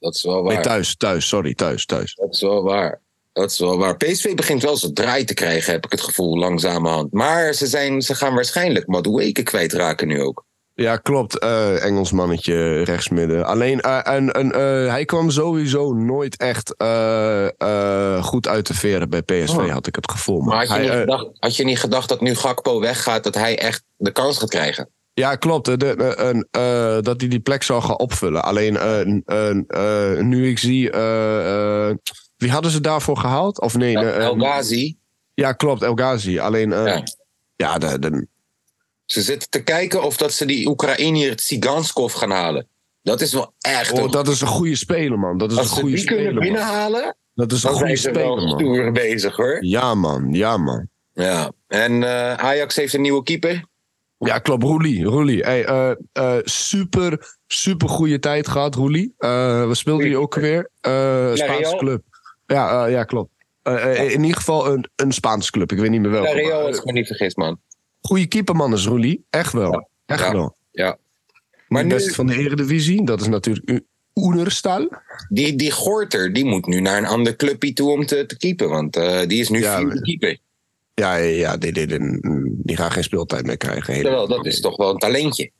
S1: Dat is wel waar.
S7: Nee, thuis, thuis, sorry, thuis, thuis.
S1: Dat is wel waar. Dat is wel waar. PSV begint wel zijn draai te krijgen, heb ik het gevoel, langzamerhand. Maar ze, zijn, ze gaan waarschijnlijk Madueke kwijtraken nu ook.
S7: Ja, klopt. eh Engels mannetje rechtsmidden. Alleen eh, en, en, eh, hij kwam sowieso nooit echt eh, eh, goed uit de veren bij PSV,
S1: Oh.
S7: had ik het gevoel.
S1: Maar had je,
S7: Hij,
S1: niet
S7: eh,
S1: gedacht, had je niet gedacht dat nu Gakpo weggaat, dat hij echt de kans gaat krijgen?
S7: ja, klopt. eh, de- eh, en, eh, dat hij die plek zou gaan opvullen. Alleen eh, n- en, eh, nu ik zie. eh, eh, wie hadden ze daarvoor gehaald? Of nee? eh, eh,
S1: El Ghazi,
S7: ja, klopt, El Ghazi. Alleen. eh,
S1: Ja.
S7: ja, de, de-
S1: ze zitten te kijken of dat ze die Oekraïner Tsiganskov gaan halen. Dat is wel echt...
S7: oh,
S1: een-
S7: dat is een goede speler, man. Dat is
S1: Als
S7: een
S1: ze die
S7: goede speler.
S1: kunnen
S7: man.
S1: binnenhalen,
S7: Dat is een
S1: dan
S7: goede
S1: zijn ze
S7: speler,
S1: wel
S7: man.
S1: stoer bezig hoor.
S7: Ja, man. Ja, man.
S1: Ja. En eh, Ajax heeft een nieuwe keeper.
S7: Ja, klopt. Roelie. Roelie. Hey, eh, eh, super, super goede tijd gehad, Roelie. Eh we speelden hier ook weer. Eh Spaanse
S1: Real.
S7: club. Ja, eh, ja klopt. Eh, eh, in ieder geval een, een Spaanse club. Ik weet niet meer welke.
S1: Ja, Real,
S7: maar,
S1: als
S7: eh,
S1: ik me niet vergis, man.
S7: goede keeperman is Roelie. Echt wel. Echt
S1: Ja.
S7: wel.
S1: Ja.
S7: Maar
S1: Maar
S7: de
S1: nu,
S7: beste van de Eredivisie. Dat is natuurlijk U- Oenerstal.
S1: die, die Gorter, die moet nu naar een ander clubje toe om te, te keepen. Want eh, die is nu
S7: Ja,
S1: vierde
S7: maar-
S1: keeper.
S7: Ja, ja, ja die, die, die, die gaan geen speeltijd meer krijgen. Hele-
S1: Terwijl, dat is toch wel een talentje.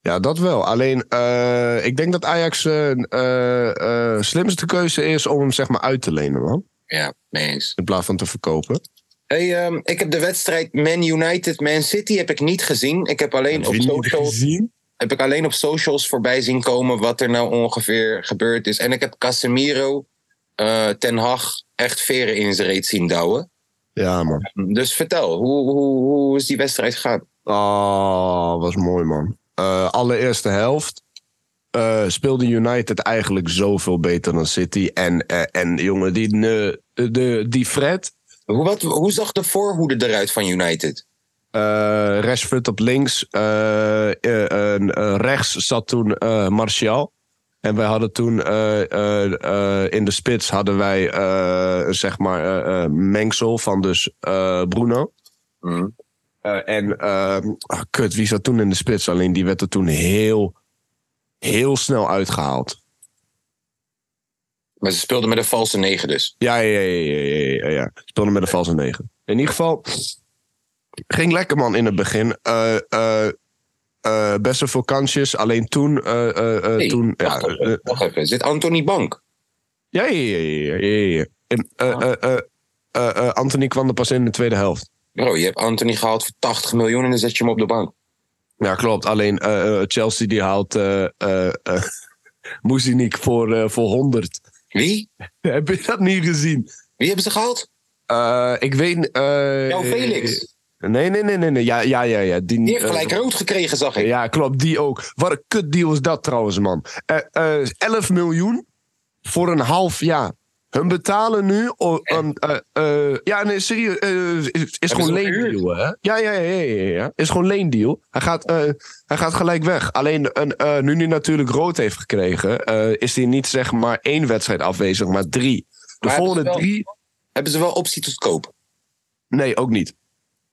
S7: Ja, dat wel. Alleen, eh, ik denk dat Ajax eh eh, eh, slimste keuze is om hem zeg maar uit te lenen, man.
S1: Ja, mee eens.
S7: In plaats van te verkopen.
S1: Hey, ehm, ik heb de wedstrijd Man United, Man City heb ik niet gezien. Ik heb alleen, op socials,
S7: gezien?
S1: heb ik alleen op socials voorbij zien komen wat er nou ongeveer gebeurd is. En ik heb Casemiro, eh, Ten Hag, echt veren in zijn reet zien douwen.
S7: Ja, man.
S1: Dus vertel, hoe, hoe, hoe is die wedstrijd gegaan?
S7: Oh, was mooi, man. Eh, allereerste helft eh, speelde United eigenlijk zoveel beter dan City. En, eh, en jongen, die, ne- de, die Fred,
S1: Hoe, wat, hoe zag de voorhoede eruit van United?
S7: eh Rashford op links, eh, eh, en, eh, rechts zat toen eh, Martial. En wij hadden toen eh, eh, eh, in de spits hadden wij eh, zeg maar eh, eh, mengsel van dus eh, Bruno.
S1: Mhm.
S7: Eh, en ehm, ah, kut, wie zat toen in de spits? Alleen die werd er toen heel, heel snel uitgehaald.
S1: Maar ze speelden met een valse negen dus.
S7: Ja, ja, ja, ja, ja, ja, ja. Speelde met een valse negen. In ieder geval, ging lekker man in het begin. Eh, eh, eh, best wel veel kansjes. Alleen toen, eh, eh, eh,
S1: Hey,
S7: toen ja,
S1: wacht, even,
S7: eh,
S1: wacht even, is dit Anthony Bank?
S7: ja, ja, ja, ja, ja, ja, ja. En, eh, eh, eh, eh, eh, Anthony kwam er pas in de tweede helft.
S1: Bro, je hebt Anthony gehaald voor 80 miljoen en dan zet je hem op de bank.
S7: Ja, klopt. Alleen eh, eh, Chelsea die haalt eh eh, eh, Muzinic voor, eh, voor 100.
S1: Wie?
S7: Heb je dat niet gezien?
S1: Wie hebben ze gehaald?
S7: Eh, ik weet... eh
S1: Jouw Felix.
S7: Nee, nee, nee, nee. nee. Ja, ja, ja. ja. Die,
S1: Die heeft
S7: eh,
S1: gelijk rood gekregen, zag ik.
S7: Ja, klopt. Die ook. Wat een kutdeal is dat trouwens, man. Eh, eh, 11 miljoen voor een half jaar. Hun betalen nu... o- een, eh, eh, ja, nee, serieus. eh, is- is,
S1: hem
S7: gewoon leendeal, hè? Ja, ja, ja, ja, ja, ja. Is gewoon leendeal. Hij gaat, eh, hij gaat gelijk weg. Alleen een, eh, nu hij natuurlijk rood heeft gekregen... eh, is hij niet zeg maar één wedstrijd afwezig, maar drie. De
S1: Maar hij
S7: volgende
S1: heeft wel-
S7: drie...
S1: Hebben ze wel optie tot koop?
S7: Nee, ook niet.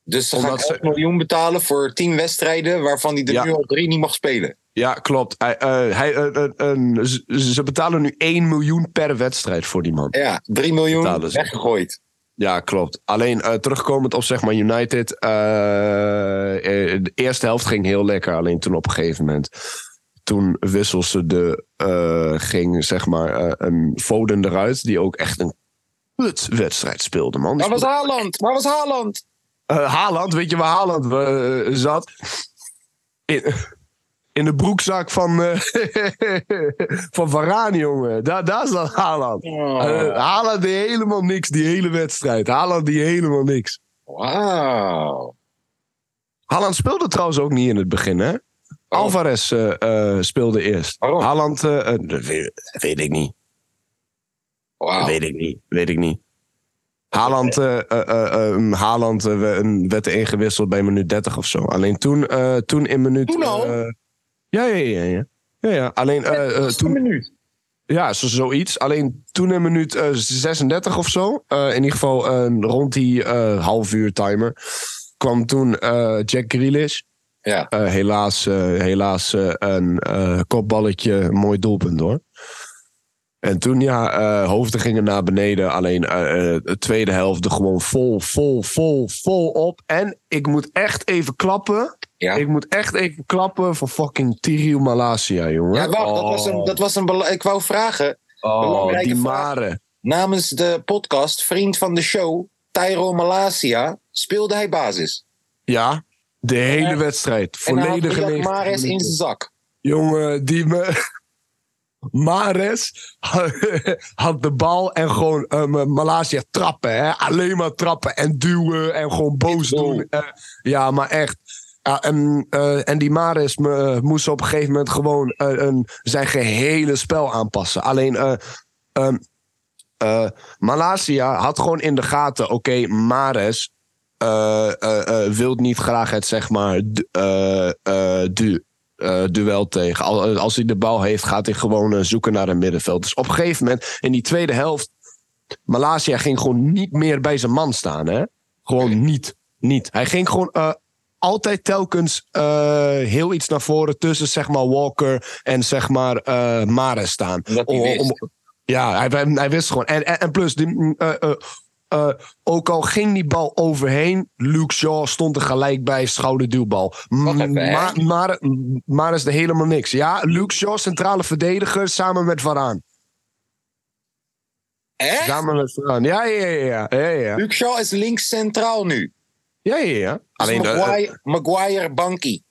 S1: Dus ze
S7: Omdat
S1: gaan
S7: ze-
S1: 11 miljoen betalen voor 10 wedstrijden waarvan hij er
S7: Ja.
S1: nu al drie niet mag spelen.
S7: Ja, klopt. Hij, eh, hij, eh, eh, eh, ze- ze betalen nu 1 miljoen per wedstrijd voor die man.
S1: Ja, 3 miljoen
S7: Betalen ze.
S1: weggegooid.
S7: Ja, klopt. Alleen eh, terugkomend op zeg maar United. eh, eh, de eerste helft ging heel lekker. Alleen toen op een gegeven moment. Toen wisselde ze de. eh, ging zeg maar eh, een Foden eruit. Die ook echt een kutwedstrijd speelde, man. Die
S1: Waar was
S7: speelde-
S1: Haaland? Waar was Haaland?
S7: Eh, Haaland, weet je waar Haaland eh, zat? In, in de broekzak van. eh, van Varane, jongen. Daar, daar zat Haaland.
S1: Oh.
S7: Eh, Haaland deed helemaal niks die hele wedstrijd. Haaland die helemaal niks.
S1: Wauw.
S7: Haaland speelde trouwens ook niet in het begin, hè? Alvarez eh, eh, speelde eerst.
S1: Waarom?
S7: Haaland, eh, eh, dat weet, dat weet ik niet. Dat
S1: Wauw.
S7: Weet ik niet. Weet ik niet. Haaland, eh, eh, eh, eh, Haaland eh, we- een- werd er ingewisseld bij minuut 30 of zo. Alleen toen, eh, toen in minuut.
S1: Toen al?
S7: eh, ja, ja, ja, ja. ja, ja. Alleen eh, eh, toen.
S1: minuut.
S7: Ja, zo, zoiets. Alleen toen in minuut eh, 36 of zo, eh, in ieder geval eh, rond die eh half uur timer, kwam toen eh, Jack Grealish.
S1: Ja.
S7: Eh, helaas eh, helaas eh, een eh, kopballetje, een mooi doelpunt hoor. En toen ja, eh, hoofden gingen naar beneden. Alleen eh, eh, de tweede helft er gewoon vol, vol, vol, vol op. En ik moet echt even klappen.
S1: Ja.
S7: Ik moet echt even klappen voor fucking Tiriu Malasia, jongen.
S1: Ja, wacht, dat was een, dat was een bela- ik wou vragen
S7: oh,
S1: belangrijke
S7: die
S1: vraag.
S7: mare.
S1: namens de podcast, vriend van de show, Tyro Malasia, speelde hij basis.
S7: Ja, de hele
S1: Ja.
S7: wedstrijd. Volledig
S1: eh, en hij had
S7: gelegen.
S1: Mares in zijn zak.
S7: Jongen, die me... Mares had de bal en gewoon um, Malaysia trappen. Hè? Alleen maar trappen en duwen en gewoon boos doen. Eh, ja, maar echt. Ja, en, eh, en die Mares me, eh, moest op een gegeven moment gewoon eh, een, zijn gehele spel aanpassen. Alleen eh, ehm, eh, Malasia had gewoon in de gaten: oké, Mares eh eh, eh, wilt niet graag het zeg maar du- eh, eh, du- eh, duel tegen. Al- eh, Als hij de bal heeft, gaat hij gewoon eh, zoeken naar een middenveld. Dus op een gegeven moment, in die tweede helft, Malasia ging gewoon niet meer bij zijn man staan. Hè? Gewoon niet, niet. Hij ging gewoon eh, altijd telkens eh, heel iets naar voren tussen zeg maar Walker en zeg maar eh Mares staan.
S1: Omdat hij wist.
S7: ja, hij, hij- hij wist gewoon. En, en, en plus, die, mm, eh, eh, eh, ook al ging die bal overheen, Luke Shaw stond er gelijk bij, schouderduwbal.
S1: Wacht even, hè?
S7: Maar, maar, maar is er helemaal niks. Ja, Luke Shaw, centrale verdediger, samen met Varaan.
S1: Echt?
S7: Samen met Varaan. Ja, ja, ja. ja, ja, ja.
S1: Luke Shaw is links centraal nu.
S7: ja, ja, ja.
S1: Alleen
S7: eh, eh,
S1: Maguire, Maguire Banky.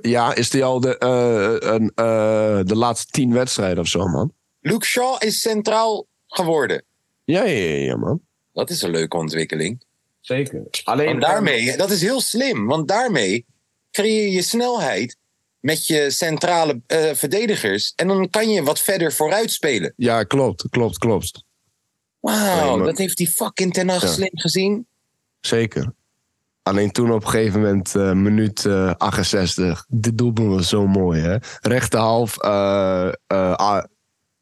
S7: ja, is die al de, eh, een, eh, de laatste tien wedstrijden of zo, man?
S1: Luke Shaw is centraal geworden.
S7: Ja, ja, ja, ja, man.
S1: Dat is een leuke ontwikkeling.
S7: Zeker. Alleen eh,
S1: Want daarmee, dat is heel slim, want daarmee creëer je snelheid met je centrale eh, verdedigers. En dan kan je wat verder vooruit spelen.
S7: Ja, klopt, klopt, klopt.
S1: Wauw,
S7: Nee, maar-
S1: dat heeft die fucking ten Hag
S7: eh, Ja.
S1: slim gezien.
S7: Zeker. Alleen toen op een gegeven moment, eh, minuut eh, 68. Dit doelpunt was zo mooi, hè? Rechterhalf, eh eh, ah,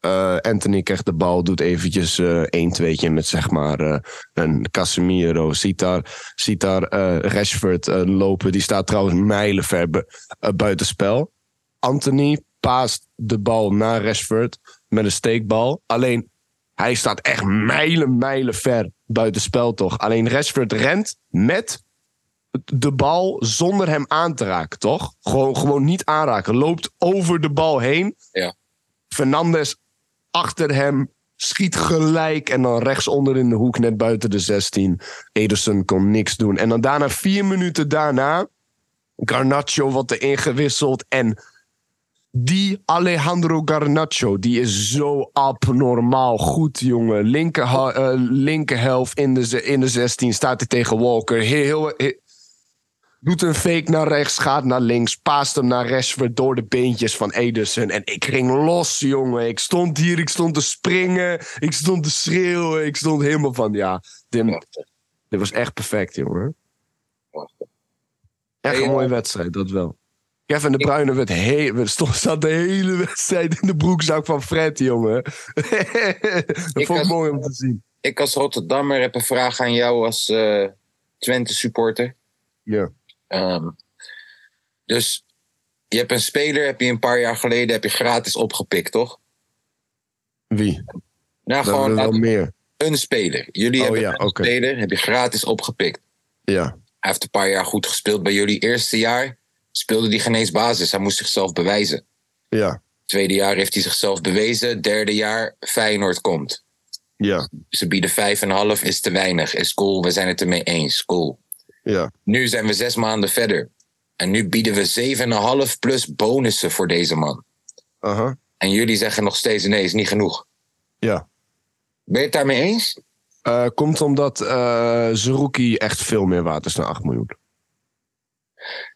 S7: eh, Anthony krijgt de bal, doet eventjes eh 1-2'tje met zeg maar eh, een Casemiro, Sitar, Sitar eh Rashford eh, lopen. Die staat trouwens mijlenver bu- eh, buitenspel. Anthony paast de bal naar Rashford met een steekbal. Alleen hij staat echt mijlen, mijlen ver buiten spel toch. Alleen Rashford rent met de bal zonder hem aan te raken, toch? Gewoon, gewoon niet aanraken. Loopt over de bal heen.
S1: Ja.
S7: Fernandes achter hem Schiet gelijk en dan rechtsonder in de hoek, net buiten de 16. Ederson kon niks doen. En dan daarna, vier minuten daarna, Garnacho wordt er ingewisseld. En die Alejandro Garnacho, die is zo abnormaal goed, jongen. Linker, eh linkerhelft in de, ze- in de 16 staat hij tegen Walker. Heel, heel, he- doet een fake naar rechts, gaat naar links, paast hem naar rechts weer door de beentjes van Ederson. En ik ging los, jongen. Ik stond hier, ik stond te springen, ik stond te schreeuwen, ik stond helemaal van, ja, Tim, dit was echt perfect, jongen. Echt een
S1: Hey,
S7: mooie
S1: eh,
S7: wedstrijd, dat wel. Kevin de Bruyne werd he- werd- stond, zat de hele wedstrijd in de broekzak van Fred, jongen. dat vond ik
S1: had-
S7: mooi om te zien.
S1: Ik als Rotterdammer heb een vraag aan jou als eh, Twente supporter.
S7: Ja.
S1: Ehm, dus je hebt een speler, heb je een paar jaar geleden heb je gratis opgepikt, toch?
S7: Wie?
S1: Nou,
S7: Dat
S1: gewoon
S7: er wel
S1: laat-
S7: meer.
S1: een speler. Jullie
S7: Oh
S1: hebben
S7: ja,
S1: een
S7: oké.
S1: speler, heb je gratis opgepikt.
S7: Ja.
S1: Hij heeft een paar jaar goed gespeeld. Bij jullie eerste jaar speelde hij geen eens basis. Hij moest zichzelf bewijzen.
S7: Ja.
S1: Tweede jaar heeft hij zichzelf bewezen. Derde jaar Feyenoord komt.
S7: Ja.
S1: Ze bieden vijf en een half, is te weinig. Is cool, we zijn het ermee eens. Cool.
S7: Ja.
S1: Nu zijn we zes maanden verder. En nu bieden we 7,5 plus bonussen voor deze man.
S7: Aha.
S1: En jullie zeggen nog steeds nee, is niet genoeg.
S7: Ja.
S1: Ben je het daarmee eens?
S7: Eh, komt omdat eh Zerouki echt veel meer waard is dan 8 miljoen.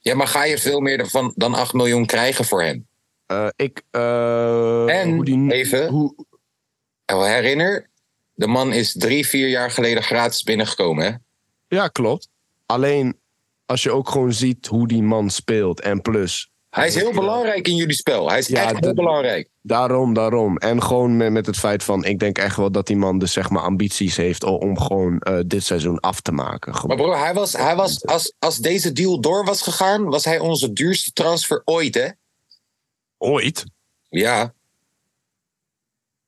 S1: Ja, maar ga je veel meer ervan dan 8 miljoen krijgen voor hem?
S7: Eh, ik. eh,
S1: En
S7: hoe die,
S1: even-
S7: Hoe,
S1: En wel herinner, de man is drie, vier jaar geleden gratis binnengekomen. Hè?
S7: ja, klopt. Alleen als je ook gewoon ziet hoe die man speelt. En plus,
S1: Hij is heel
S7: Ja.
S1: belangrijk in jullie spel. Hij is
S7: Ja,
S1: echt heel
S7: dat-
S1: belangrijk.
S7: Daarom, daarom. En gewoon met, met het feit van, ik denk echt wel dat die man dus zeg maar ambities heeft o- om gewoon eh, dit seizoen af te maken.
S1: Maar
S7: Gewoon.
S1: broer, hij was, hij was, als, als deze deal door was gegaan, was hij onze duurste transfer ooit, hè?
S7: Ooit?
S1: Ja.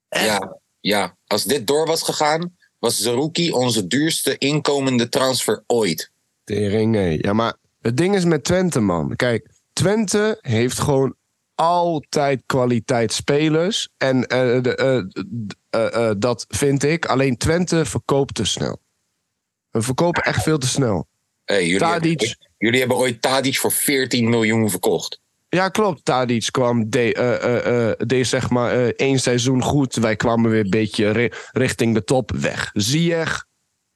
S1: Ja, ja. Als dit door was gegaan, was Zerouki onze duurste inkomende transfer ooit.
S7: Tering, nee. Ja, maar het ding is met Twente, man. Kijk, Twente heeft gewoon altijd kwaliteit spelers. En eh, de, eh, d- eh, eh, dat vind ik. Alleen Twente verkoopt te snel. We verkopen echt veel te snel.
S1: Hey, jullie,
S7: Tadic.
S1: Hebben, jullie hebben ooit Tadic voor 14 miljoen verkocht.
S7: Ja, klopt. Tadic kwam de, eh, eh, eh, deed zeg maar eh, één seizoen goed. Wij kwamen weer een beetje ri- richting de top weg. Ziyech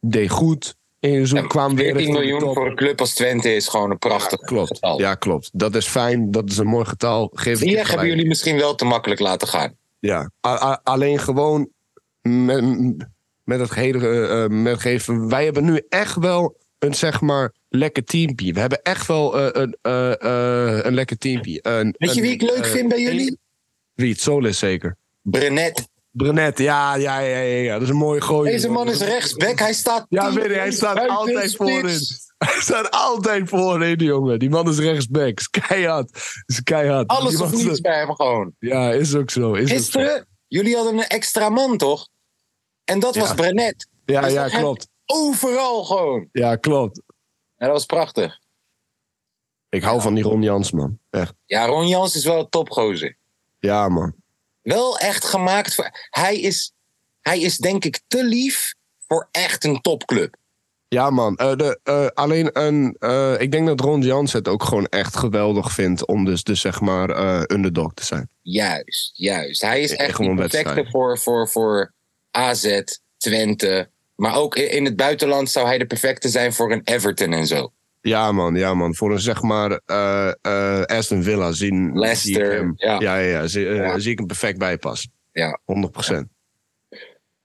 S7: deed goed. Eén seizoen kwam weer
S1: 14
S7: richting de
S1: miljoen
S7: top.
S1: voor een club als Twente is gewoon een prachtig
S7: Klopt.
S1: getal.
S7: Ja, klopt. Dat is fijn. Dat is een mooi getal. Geef ik je
S1: Die hebben
S7: gelijk.
S1: jullie misschien wel te makkelijk laten gaan.
S7: Ja. A- a- alleen gewoon met, met het gehele eh, eh, met geven. Wij hebben nu echt wel een zeg maar lekker teampje. We hebben echt wel eh, een, eh, eh, een lekker teampje. Een-
S1: Weet je
S7: een,
S1: wie ik leuk
S7: eh,
S1: vind bij jullie?
S7: Wie het Solis zeker. Oh,
S1: Brenet.
S7: Brenet, ja, ja, ja, ja, ja. Dat is een mooie gooi.
S1: Deze man is rechtsback. Hij staat.
S7: Ja,
S1: tien
S7: weet ik, hij
S1: keer
S7: staat
S1: buiten
S7: altijd
S1: spits.
S7: voorin. Hij staat altijd voorin, jongen. Die man is rechtsback. Is keihard. Is keihard.
S1: Alles
S7: Die
S1: of
S7: man is-
S1: niets bij hem gewoon.
S7: Ja, is ook zo. Is ook zo.
S1: Gisteren, jullie hadden een extra man toch? En dat was
S7: Ja.
S1: Brenet.
S7: Ja,
S1: Dus
S7: ja,
S1: dat hij-
S7: klopt.
S1: Overal gewoon.
S7: Ja, klopt.
S1: En dat was prachtig.
S7: Ik hou van die Ron Jans, man. Echt.
S1: Ja, Ron Jans is wel een topgozer.
S7: Ja, man.
S1: Wel echt gemaakt voor. Hij is, hij is denk ik te lief voor echt een topclub.
S7: Ja, man. Eh, de, eh, alleen een. eh, ik denk dat Ron Jans het ook gewoon echt geweldig vindt om dus, dus zeg maar eh, underdog te zijn.
S1: Juist, juist. Hij is
S7: Echt
S1: echt
S7: gewoon
S1: een
S7: wedstrijden.
S1: perfecte voor, voor, voor AZ, Twente. Maar ook i- in het buitenland zou hij de perfecte zijn voor een Everton en zo.
S7: Ja, man, ja, man. Voor een zeg maar eh, eh, Aston Villa zien.
S1: Leicester,
S7: zie ik hem-
S1: ja.
S7: Ja, ja, ja, zie, eh,
S1: Ja.
S7: zie ik hem perfect bijpassen.
S1: Ja.
S7: 100 procent.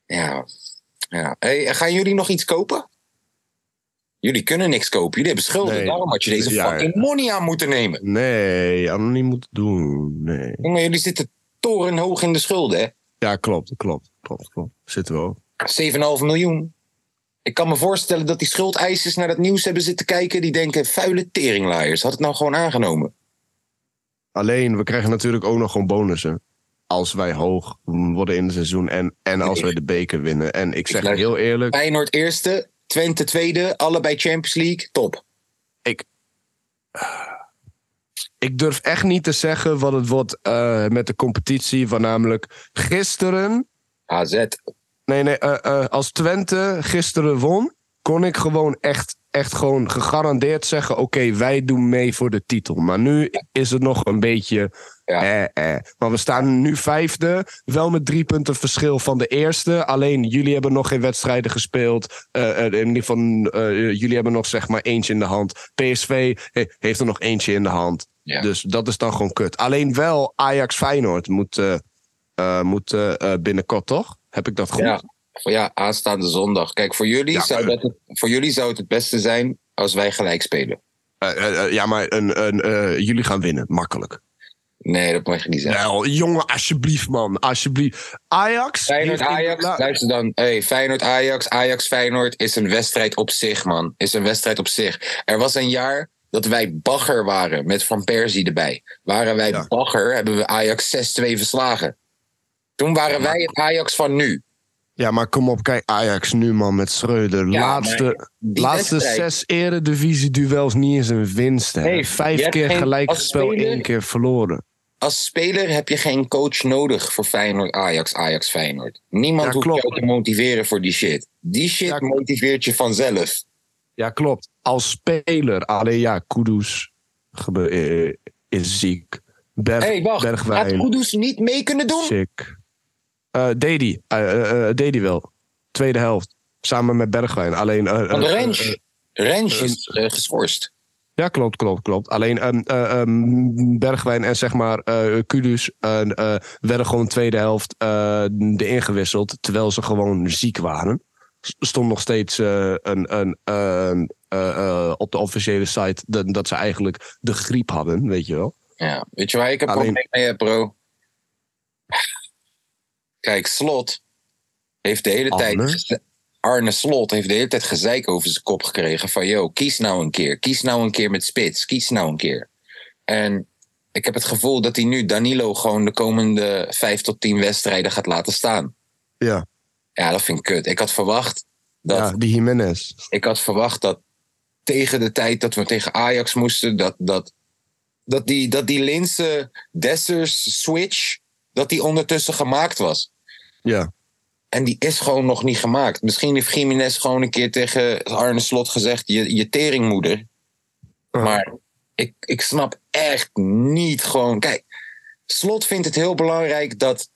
S1: Ja. ja. Hey, gaan jullie nog iets kopen? Jullie kunnen niks kopen. Jullie hebben schulden.
S7: Nee.
S1: Daarom had je deze
S7: Ja,
S1: fucking money aan moeten nemen.
S7: Nee, had nog niet moeten doen. Nee.
S1: Jongen, jullie zitten torenhoog in de schulden, hè?
S7: Ja, klopt, klopt, klopt, klopt. Zitten we ook.
S1: 7,5 miljoen. Ik kan me voorstellen dat die schuldeisers naar dat nieuws hebben zitten kijken. Die denken, vuile teringlaaiers. Had het nou gewoon aangenomen.
S7: Alleen, we krijgen natuurlijk ook nog gewoon bonussen. Als wij hoog worden in het seizoen en, en als wij de beker winnen. En ik zeg
S1: luister.
S7: heel eerlijk,
S1: Feyenoord eerste, Twente tweede, allebei Champions League, top.
S7: ik durf echt niet te zeggen wat het wordt eh, met de competitie. Want namelijk gisteren
S5: AZ.
S7: Nee, nee. eh, eh, als Twente gisteren won, kon ik gewoon echt, echt gewoon gegarandeerd zeggen: oké, wij doen mee voor de titel. Maar nu is het nog een beetje.
S1: Ja.
S7: Eh, eh. Maar we staan nu vijfde, wel met drie punten verschil van de eerste. Alleen jullie hebben nog geen wedstrijden gespeeld. Eh, eh, in ieder geval, eh, jullie hebben nog zeg maar eentje in de hand. PSV he- heeft er nog eentje in de hand.
S1: Ja.
S7: Dus dat is dan gewoon kut. Alleen wel Ajax Feyenoord moet, eh, eh, moet eh, eh, binnenkort, toch? Heb ik dat goed?
S1: Ja. ja, aanstaande zondag. Kijk, voor jullie,
S7: Ja,
S1: zou,
S7: maar-
S1: dat het, voor jullie zou het het beste zijn als wij gelijk spelen.
S7: Eh, eh, eh, ja, maar een, een, eh, jullie gaan winnen, makkelijk.
S1: Nee, dat mag je niet zeggen.
S7: Wel, jongen, alsjeblieft, man. Alsjeblieft. Ajax.
S1: Feyenoord
S7: heeft in-
S1: Ajax,
S7: Nou,
S1: luister dan. Hey, Feyenoord Ajax, Ajax Feyenoord is een wedstrijd op zich, man. Is een wedstrijd op zich. Er was een jaar dat wij bagger waren met Van Persie erbij. Waren wij
S7: Ja.
S1: bagger, hebben we Ajax 6-2 verslagen. Toen waren wij het Ajax van nu.
S7: Ja, maar kom op, kijk, Ajax nu, man, met Schreuder.
S1: Ja,
S7: laatste
S1: die
S7: laatste
S1: wedstrijd-
S7: zes eredivisie-duels niet eens een winst. Hè.
S1: Nee, je
S7: Vijf
S1: hebt
S7: keer
S1: geen-
S7: gelijk
S1: als
S7: gespeeld,
S1: speler-
S7: één keer verloren.
S1: Als speler heb je geen coach nodig voor Feyenoord Ajax, Ajax Feyenoord. Niemand
S7: Ja,
S1: hoeft
S7: klopt.
S1: jou te motiveren voor die shit. Die shit
S7: Ja, klopt.
S1: motiveert je vanzelf.
S7: Ja, klopt. Als speler, alleen ja, Kudus gebe- eh, is ziek. Berg,
S1: Hé, hey, wacht. Had
S7: Bergwijn,
S1: Kudus niet mee kunnen doen?
S7: sick. Eh Dedy, eh, eh, eh, Dedy wel. Tweede helft. Samen met Bergwijn. Alleen, eh, eh,
S1: Want
S7: eh, eh,
S1: Rens, Rens is eh, geschorst.
S7: Ja, klopt, klopt, klopt. Alleen ehm, eh, ehm, Bergwijn en zeg maar eh Kudus eh, eh, werden gewoon tweede helft eh erin gewisseld. Terwijl ze gewoon ziek waren. S- Stond nog steeds eh, een, een, een, eh, eh, op de officiële site dat, dat ze eigenlijk de griep hadden, weet je wel.
S1: Ja, weet je waar ik een
S7: Alleen-
S1: probleem mee heb, bro? Kijk, Slot heeft de hele
S7: Arne?
S1: tijd... geze- Arne Slot heeft de hele tijd gezeik over zijn kop gekregen van... Yo, kies nou een keer. Kies nou een keer met spits. Kies nou een keer. En ik heb het gevoel dat hij nu Danilo gewoon de komende vijf tot tien wedstrijden gaat laten staan.
S7: Ja.
S1: Ja, dat vind ik kut. Ik had verwacht dat
S7: ja die Jiménez.
S1: ik had verwacht dat tegen de tijd dat we tegen Ajax moesten, dat, dat, dat die, dat die Linse Dessers switch, dat die ondertussen gemaakt was.
S7: Ja.
S1: En die is gewoon nog niet gemaakt. Misschien heeft Jiménez gewoon een keer tegen Arne Slot gezegd, je, je teringmoeder.
S7: Ja.
S1: Maar ik, ik snap echt niet gewoon... Kijk, Slot vindt het heel belangrijk dat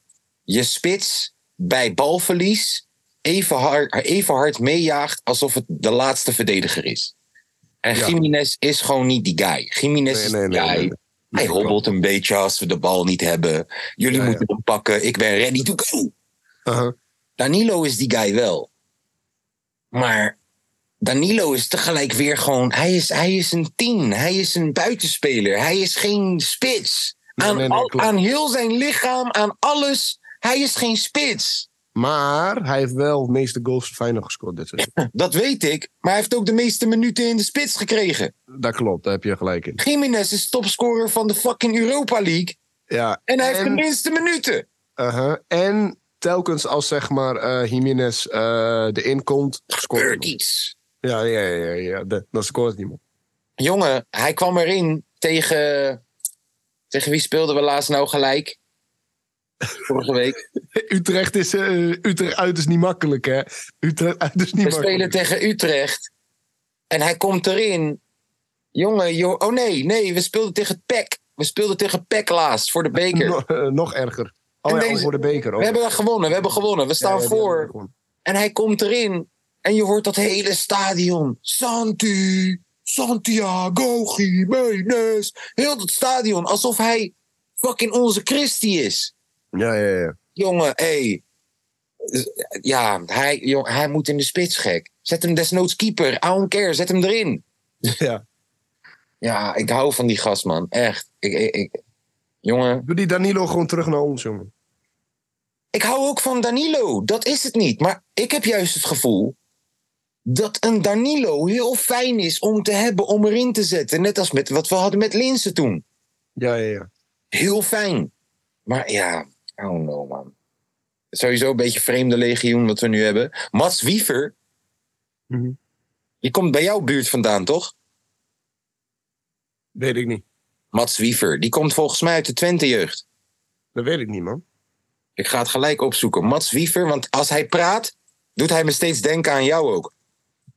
S1: je spits bij balverlies even hard, even hard meejaagt alsof het de laatste verdediger is. En
S7: Ja.
S1: Jiménez is gewoon niet die guy. Jiménez
S7: Nee,
S1: is
S7: nee,
S1: die
S7: nee,
S1: guy.
S7: nee, nee.
S1: Hij hobbelt een beetje als we de bal niet hebben. Jullie
S7: Ja,
S1: moeten hem pakken. Ik ben ready to go.
S7: Uh-huh.
S1: Danilo is die guy wel. Maar Danilo is tegelijk weer gewoon... Hij is, hij is een tien. Hij is een buitenspeler. Hij is geen spits.
S7: Nee,
S1: aan,
S7: nee, nee,
S1: al-
S7: klopt.
S1: aan heel zijn lichaam, aan alles. Hij is geen spits.
S7: Maar hij heeft wel de meeste goals voor Feyenoord gescoord dit seizoen.
S1: Dat weet ik. Maar hij heeft ook de meeste minuten in de spits gekregen.
S7: dat klopt, daar heb je gelijk in.
S1: Jiménez is topscorer van de fucking Europa League.
S7: Ja,
S1: En hij heeft de
S7: En-
S1: minste minuten.
S7: Uh-huh. En telkens als zeg maar eh Jiménez eh, erin komt, scoort
S1: Gebeurt
S7: hij.
S1: iets.
S7: Ja, ja, ja, ja, ja. De- dan scoort niemand.
S1: Jongen, hij kwam erin tegen. Tegen wie speelden we laatst nou gelijk? Vorige week.
S7: Utrecht, is, eh, Utrecht uit is niet makkelijk, hè? Utrecht uit is niet
S1: We spelen
S7: makkelijk.
S1: tegen Utrecht. En hij komt erin. Jongen, jo- oh nee, nee, we speelden tegen PEC. We speelden tegen PEC laatst voor de beker.
S7: No- eh, nog erger. Oh
S1: En
S7: ja,
S1: deze-
S7: voor de beker. Oh,
S1: We hebben gewonnen, we hebben gewonnen. We
S7: ja,
S1: staan
S7: ja, die
S1: voor.
S7: hebben we gewonnen.
S1: En hij komt erin. En je hoort dat hele stadion. Santi, Santiago, Jiménez. Heel dat stadion. Alsof hij fucking onze Christi is.
S7: Ja, ja, ja.
S1: Jongen, hé. Ja, hij, jong, hij moet in de spits, gek. Zet hem desnoods keeper. I don't care. Zet hem erin.
S7: ja.
S1: Ja, ik hou van die gast, man. Echt. Ik, ik, ik- Jongen,
S7: Doe die Danilo gewoon terug naar ons, jongen.
S1: ik hou ook van Danilo. Dat is het niet. Maar ik heb juist het gevoel dat een Danilo heel fijn is om te hebben, om erin te zetten. Net als met wat we hadden met Linse toen.
S7: Ja, ja, ja.
S1: Heel fijn. Maar ja, I don't know, man. Sowieso een beetje vreemde legioen wat we nu hebben. Mats Wiever,
S7: Mhm.
S1: die komt bij jouw buurt vandaan, toch?
S7: Weet ik niet.
S1: Mats Wiever, die komt volgens mij uit de Twente-jeugd.
S7: Dat weet ik niet, man.
S1: Ik ga het gelijk opzoeken. Mats Wiever, want als hij praat, doet hij me steeds denken aan jou ook.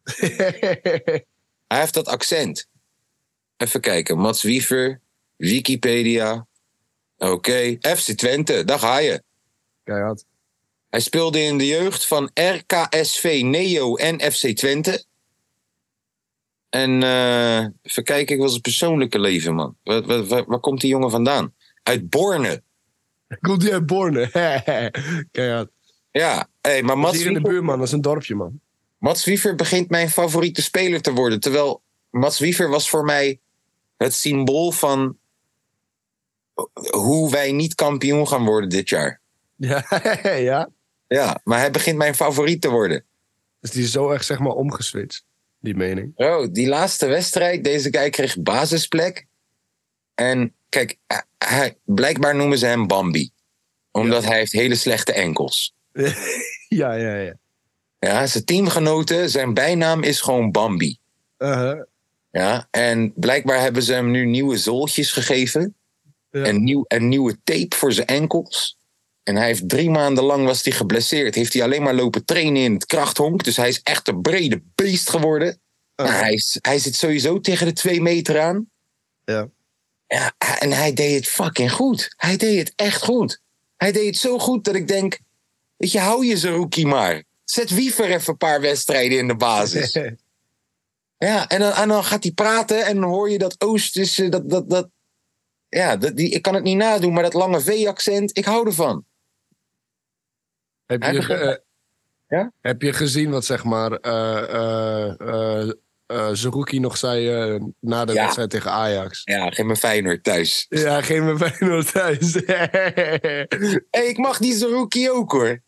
S1: Hij heeft dat accent. Even kijken. Mats Wiever, Wikipedia. Oké, FC Twente, daar ga je.
S7: Keihard.
S1: Hij speelde in de jeugd van RKSV Neo en FC Twente. En eh even kijken, ik was het persoonlijke leven, man. Waar, waar, waar- waar komt die jongen vandaan? Uit Borne.
S7: Komt die uit Borne? Keihard.
S1: Ja, hey, maar
S7: Dat
S1: Mats
S7: is hier in de
S1: Wiever,
S7: buurt, man. Dat is een dorpje, man.
S1: Mats Wiever begint mijn favoriete speler te worden. Terwijl Mats Wiever was voor mij het symbool van hoe wij niet kampioen gaan worden dit jaar.
S7: Ja, ja.
S1: Ja, maar hij begint mijn favoriet te worden.
S7: Dus die is zo echt, zeg maar, omgeswitcht. Die mening.
S1: Oh, die laatste wedstrijd, deze guy kreeg basisplek. En kijk, hij- hij, blijkbaar noemen ze hem Bambi. Omdat hij heeft hele slechte enkels.
S7: Ja, ja, ja.
S1: Ja, zijn teamgenoten, zijn bijnaam is gewoon Bambi.
S7: Uh-huh.
S1: Ja, en blijkbaar hebben ze hem nu nieuwe zooltjes gegeven.
S7: Ja.
S1: En, nieuw, en nieuwe tape voor zijn enkels. En hij heeft drie maanden lang was hij geblesseerd. Heeft hij alleen maar lopen trainen in het krachthonk. Dus hij is echt een brede beest geworden. Nou,
S7: uh-huh. Ah,
S1: hij, is- hij zit sowieso tegen de twee meter aan.
S7: Ja.
S1: ja. En hij deed het fucking goed. Hij deed het echt goed. Hij deed het zo goed dat ik denk... Weet je, hou je zijn rookie maar. Zet Wiever even een paar wedstrijden in de basis. Ja, en dan, en dan gaat hij praten en dan hoor je dat Oost is. eh, Dat, dat, dat, ja, dat, die, ik kan het niet nadoen, maar dat lange V-accent, ik hou ervan.
S7: Heb
S1: Hij
S7: je,
S1: begint-
S7: eh,
S1: Ja?
S7: heb je gezien wat zeg maar eh eh eh, eh, Zerouki nog zei eh, na de
S1: Ja.
S7: wedstrijd tegen Ajax?
S1: Ja, geef me Feyenoord thuis.
S7: Ja, geen me Feyenoord thuis.
S1: Hé, ik mag die Zerouki ook hoor.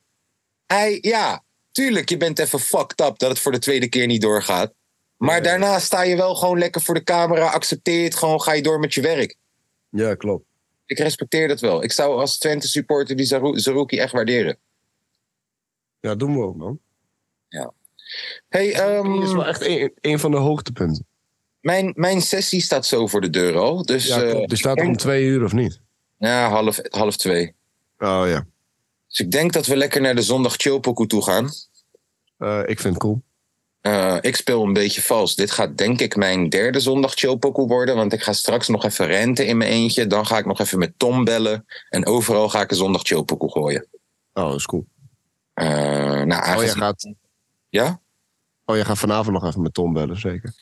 S1: Hij, ja, tuurlijk, je bent even fucked up dat het voor de tweede keer niet doorgaat. Maar daarna sta je wel gewoon lekker voor de camera, accepteer het gewoon, ga je door met je werk.
S7: ja, klopt.
S1: Ik respecteer dat wel. Ik zou als Twente supporter die Zarou- Zerouki echt waarderen.
S7: Ja, doen we ook, man.
S1: Hey, ehm,
S7: Dit is wel echt een, een van de hoogtepunten.
S1: mijn, mijn sessie staat zo voor de deur al. Dus
S7: Ja,
S1: eh,
S7: klopt. Die staat er om twee uur of niet?
S1: Ja, half, half twee.
S7: Oh ja.
S1: Dus ik denk dat we lekker naar de zondag chillpokoe toe gaan.
S7: Eh, ik vind het cool.
S1: Eh, ik speel een beetje vals. Dit gaat denk ik mijn derde zondag chillpokoe worden. Want ik ga straks nog even renten in mijn eentje. Dan ga ik nog even met Tom bellen. En overal ga ik een zondag chillpokoe gooien.
S7: Oh, dat is cool.
S1: Eh, nou,
S7: Oh, jij
S1: aangezien-
S7: gaat,
S1: Ja?
S7: oh, jij gaat vanavond nog even met Tom bellen, zeker?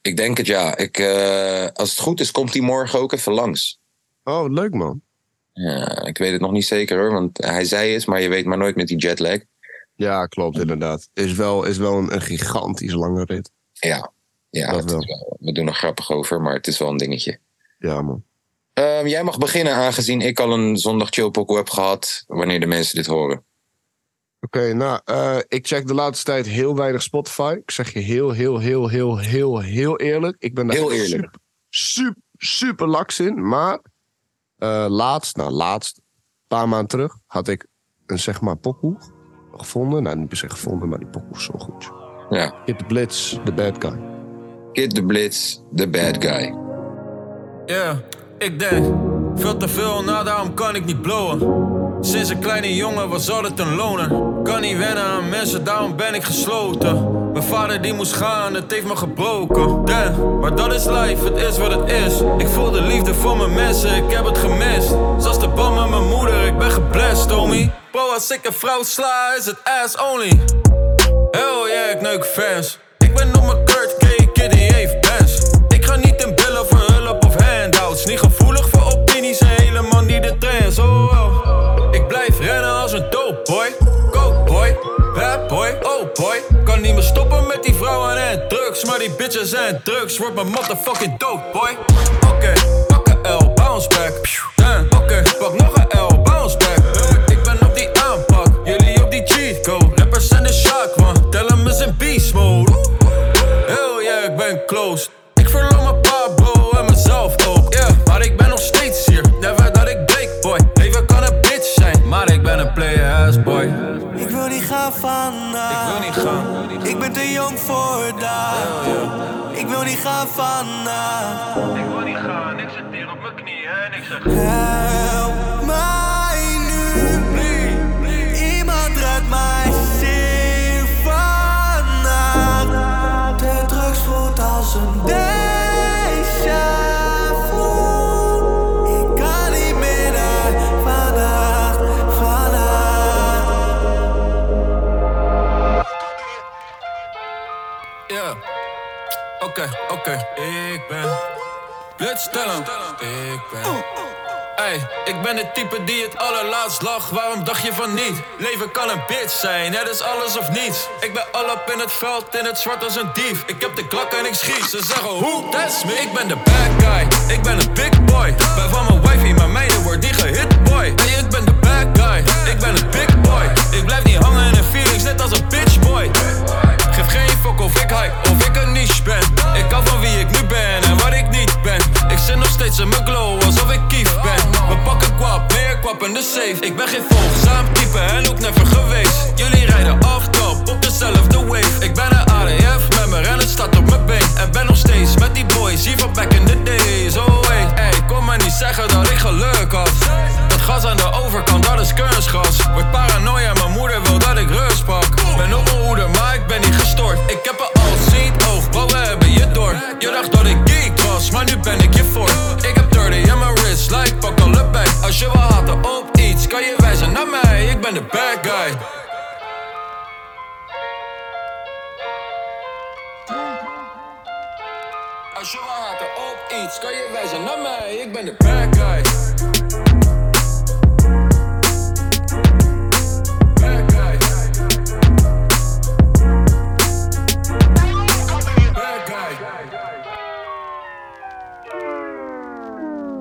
S1: Ik denk het ja. Ik, eh, als het goed is, komt hij morgen ook even langs.
S7: Oh, wat leuk, man.
S1: Ja, ik weet het nog niet zeker hoor. Want hij zei het, maar je weet maar nooit met die jetlag.
S7: Ja, klopt, inderdaad. Is wel, is wel een, een gigantisch lange rit.
S1: Ja, ja
S7: Dat
S1: het is
S7: wel.
S1: wel- we doen er grappig over. Maar het is wel een dingetje.
S7: Ja, man.
S1: Ehm, jij mag beginnen, aangezien ik al een zondag chillpokoe heb gehad. Wanneer de mensen dit horen.
S7: Oké, nou, eh, ik check de laatste tijd heel weinig Spotify. Ik zeg je heel, heel, heel, heel, heel, heel eerlijk. Ik ben daar
S1: Heel
S7: echt
S1: eerlijk.
S7: Super, super, super laks in. Maar eh, laatst, nou laatst, een paar maanden terug, had ik een zeg maar pokoe gevonden. Nou, niet per se gevonden, maar die pokoe is zo goed.
S1: Ja.
S7: Hit the Blitz, The Bad Guy.
S1: Kid the Blitz, the bad guy.
S8: Ja, ik denk veel te veel, nou daarom kan ik niet blowen. Sinds een kleine jongen was altijd een loner. Kan niet wennen aan mensen, daarom ben ik gesloten. Mijn vader die moest gaan, het heeft me gebroken. Damn, maar dat is life, het is wat het is. Ik voel de liefde voor mijn mensen, ik heb het gemist. Zoals de band met mijn moeder, ik ben geblest, homie. Bro, als ik een vrouw sla, is het ass only. Hell yeah, ik neuk fans. Ik ben op mijn Kurt K, Kitty heeft bands. Ik ga niet in billen voor hulp of handouts. Niet gevoelig voor opinies en helemaal niet de trends. Oh, oh. Ik blijf rennen als een dope boy. Coke boy, bad boy, oh boy. Kan niet meer stoppen met die vrouwen en drugs. Maar die bitches en drugs wordt mijn motherfucking dope boy. Oké, pak een L, bounce back. Damn, oké, pak nog een L, bounce back. Ik ben op die aanpak, jullie op die cheat code. Rappers zijn de shock, man, tel hem eens in beast mode. Hell yeah, ik ben close. Ik verloor mijn Pablo en mezelf ook, yeah. Maar ik ben nog steeds hier, never dat ik break, boy. Even kan een bitch zijn, maar ik ben een player ass boy.
S9: Ik wil niet gaan
S8: Ik wil
S9: vandaag.
S8: niet gaan,
S9: Ik ben te jong voor daar. Ik wil niet gaan vandaag.
S8: ik wil niet gaan, ik zit hier op mijn knieën en ik zeg.
S9: Help mij nu.
S8: lekker. Ik ben. Blitstellen. Ik ben. Ey, Oh. ik ben het type die het allerlaatst lacht, waarom dacht je van niet? Leven kan een bitch zijn, het is alles of niets. Ik ben al op in het veld, in het zwart als een dief. Ik heb de klak en ik schiet, ze zeggen hoe, that's me. Ik ben de bad guy, ik ben een big boy. Bij van mijn wifey, mijn meiden wordt die gehit boy. Hey, ik ben de bad guy, ik ben een big boy. Ik blijf niet hangen in een feelings, net als een bitch boy. Geef geen fuck of ik hype of ik een niche ben. Ik hou van wie ik nu ben en wat ik niet ben. Ik zit nog steeds in mijn glow alsof ik kief ben. We pakken kwap, meer kwap en de safe. Ik ben geen volgzaam type en ook never geweest. Jullie rijden off-top op dezelfde wave. Ik ben een ADF-member en het staat op mijn been. En ben nog steeds met die boys hier van back in the days. Oh hey, hey, kom maar niet zeggen dat ik geluk had. Dat gas aan de overkant, dat is kunstgas. Word paranoia, mijn moeder wil dat ik rust pak. Ben op mijn hoede, maar ik ben niet gestoord. Ik heb een all-seat oog, wat we hebben je door. Je dacht dat ik geek was, maar nu ben ik je voor. Ik heb 30 in mijn wrist, like pak alle bij. Als je wil haten op iets, kan je wijzen naar mij. Ik ben de bad guy. Als je wil haten op iets, kan je wijzen naar mij. Ik ben de bad guy. Bad guy. Bad guy.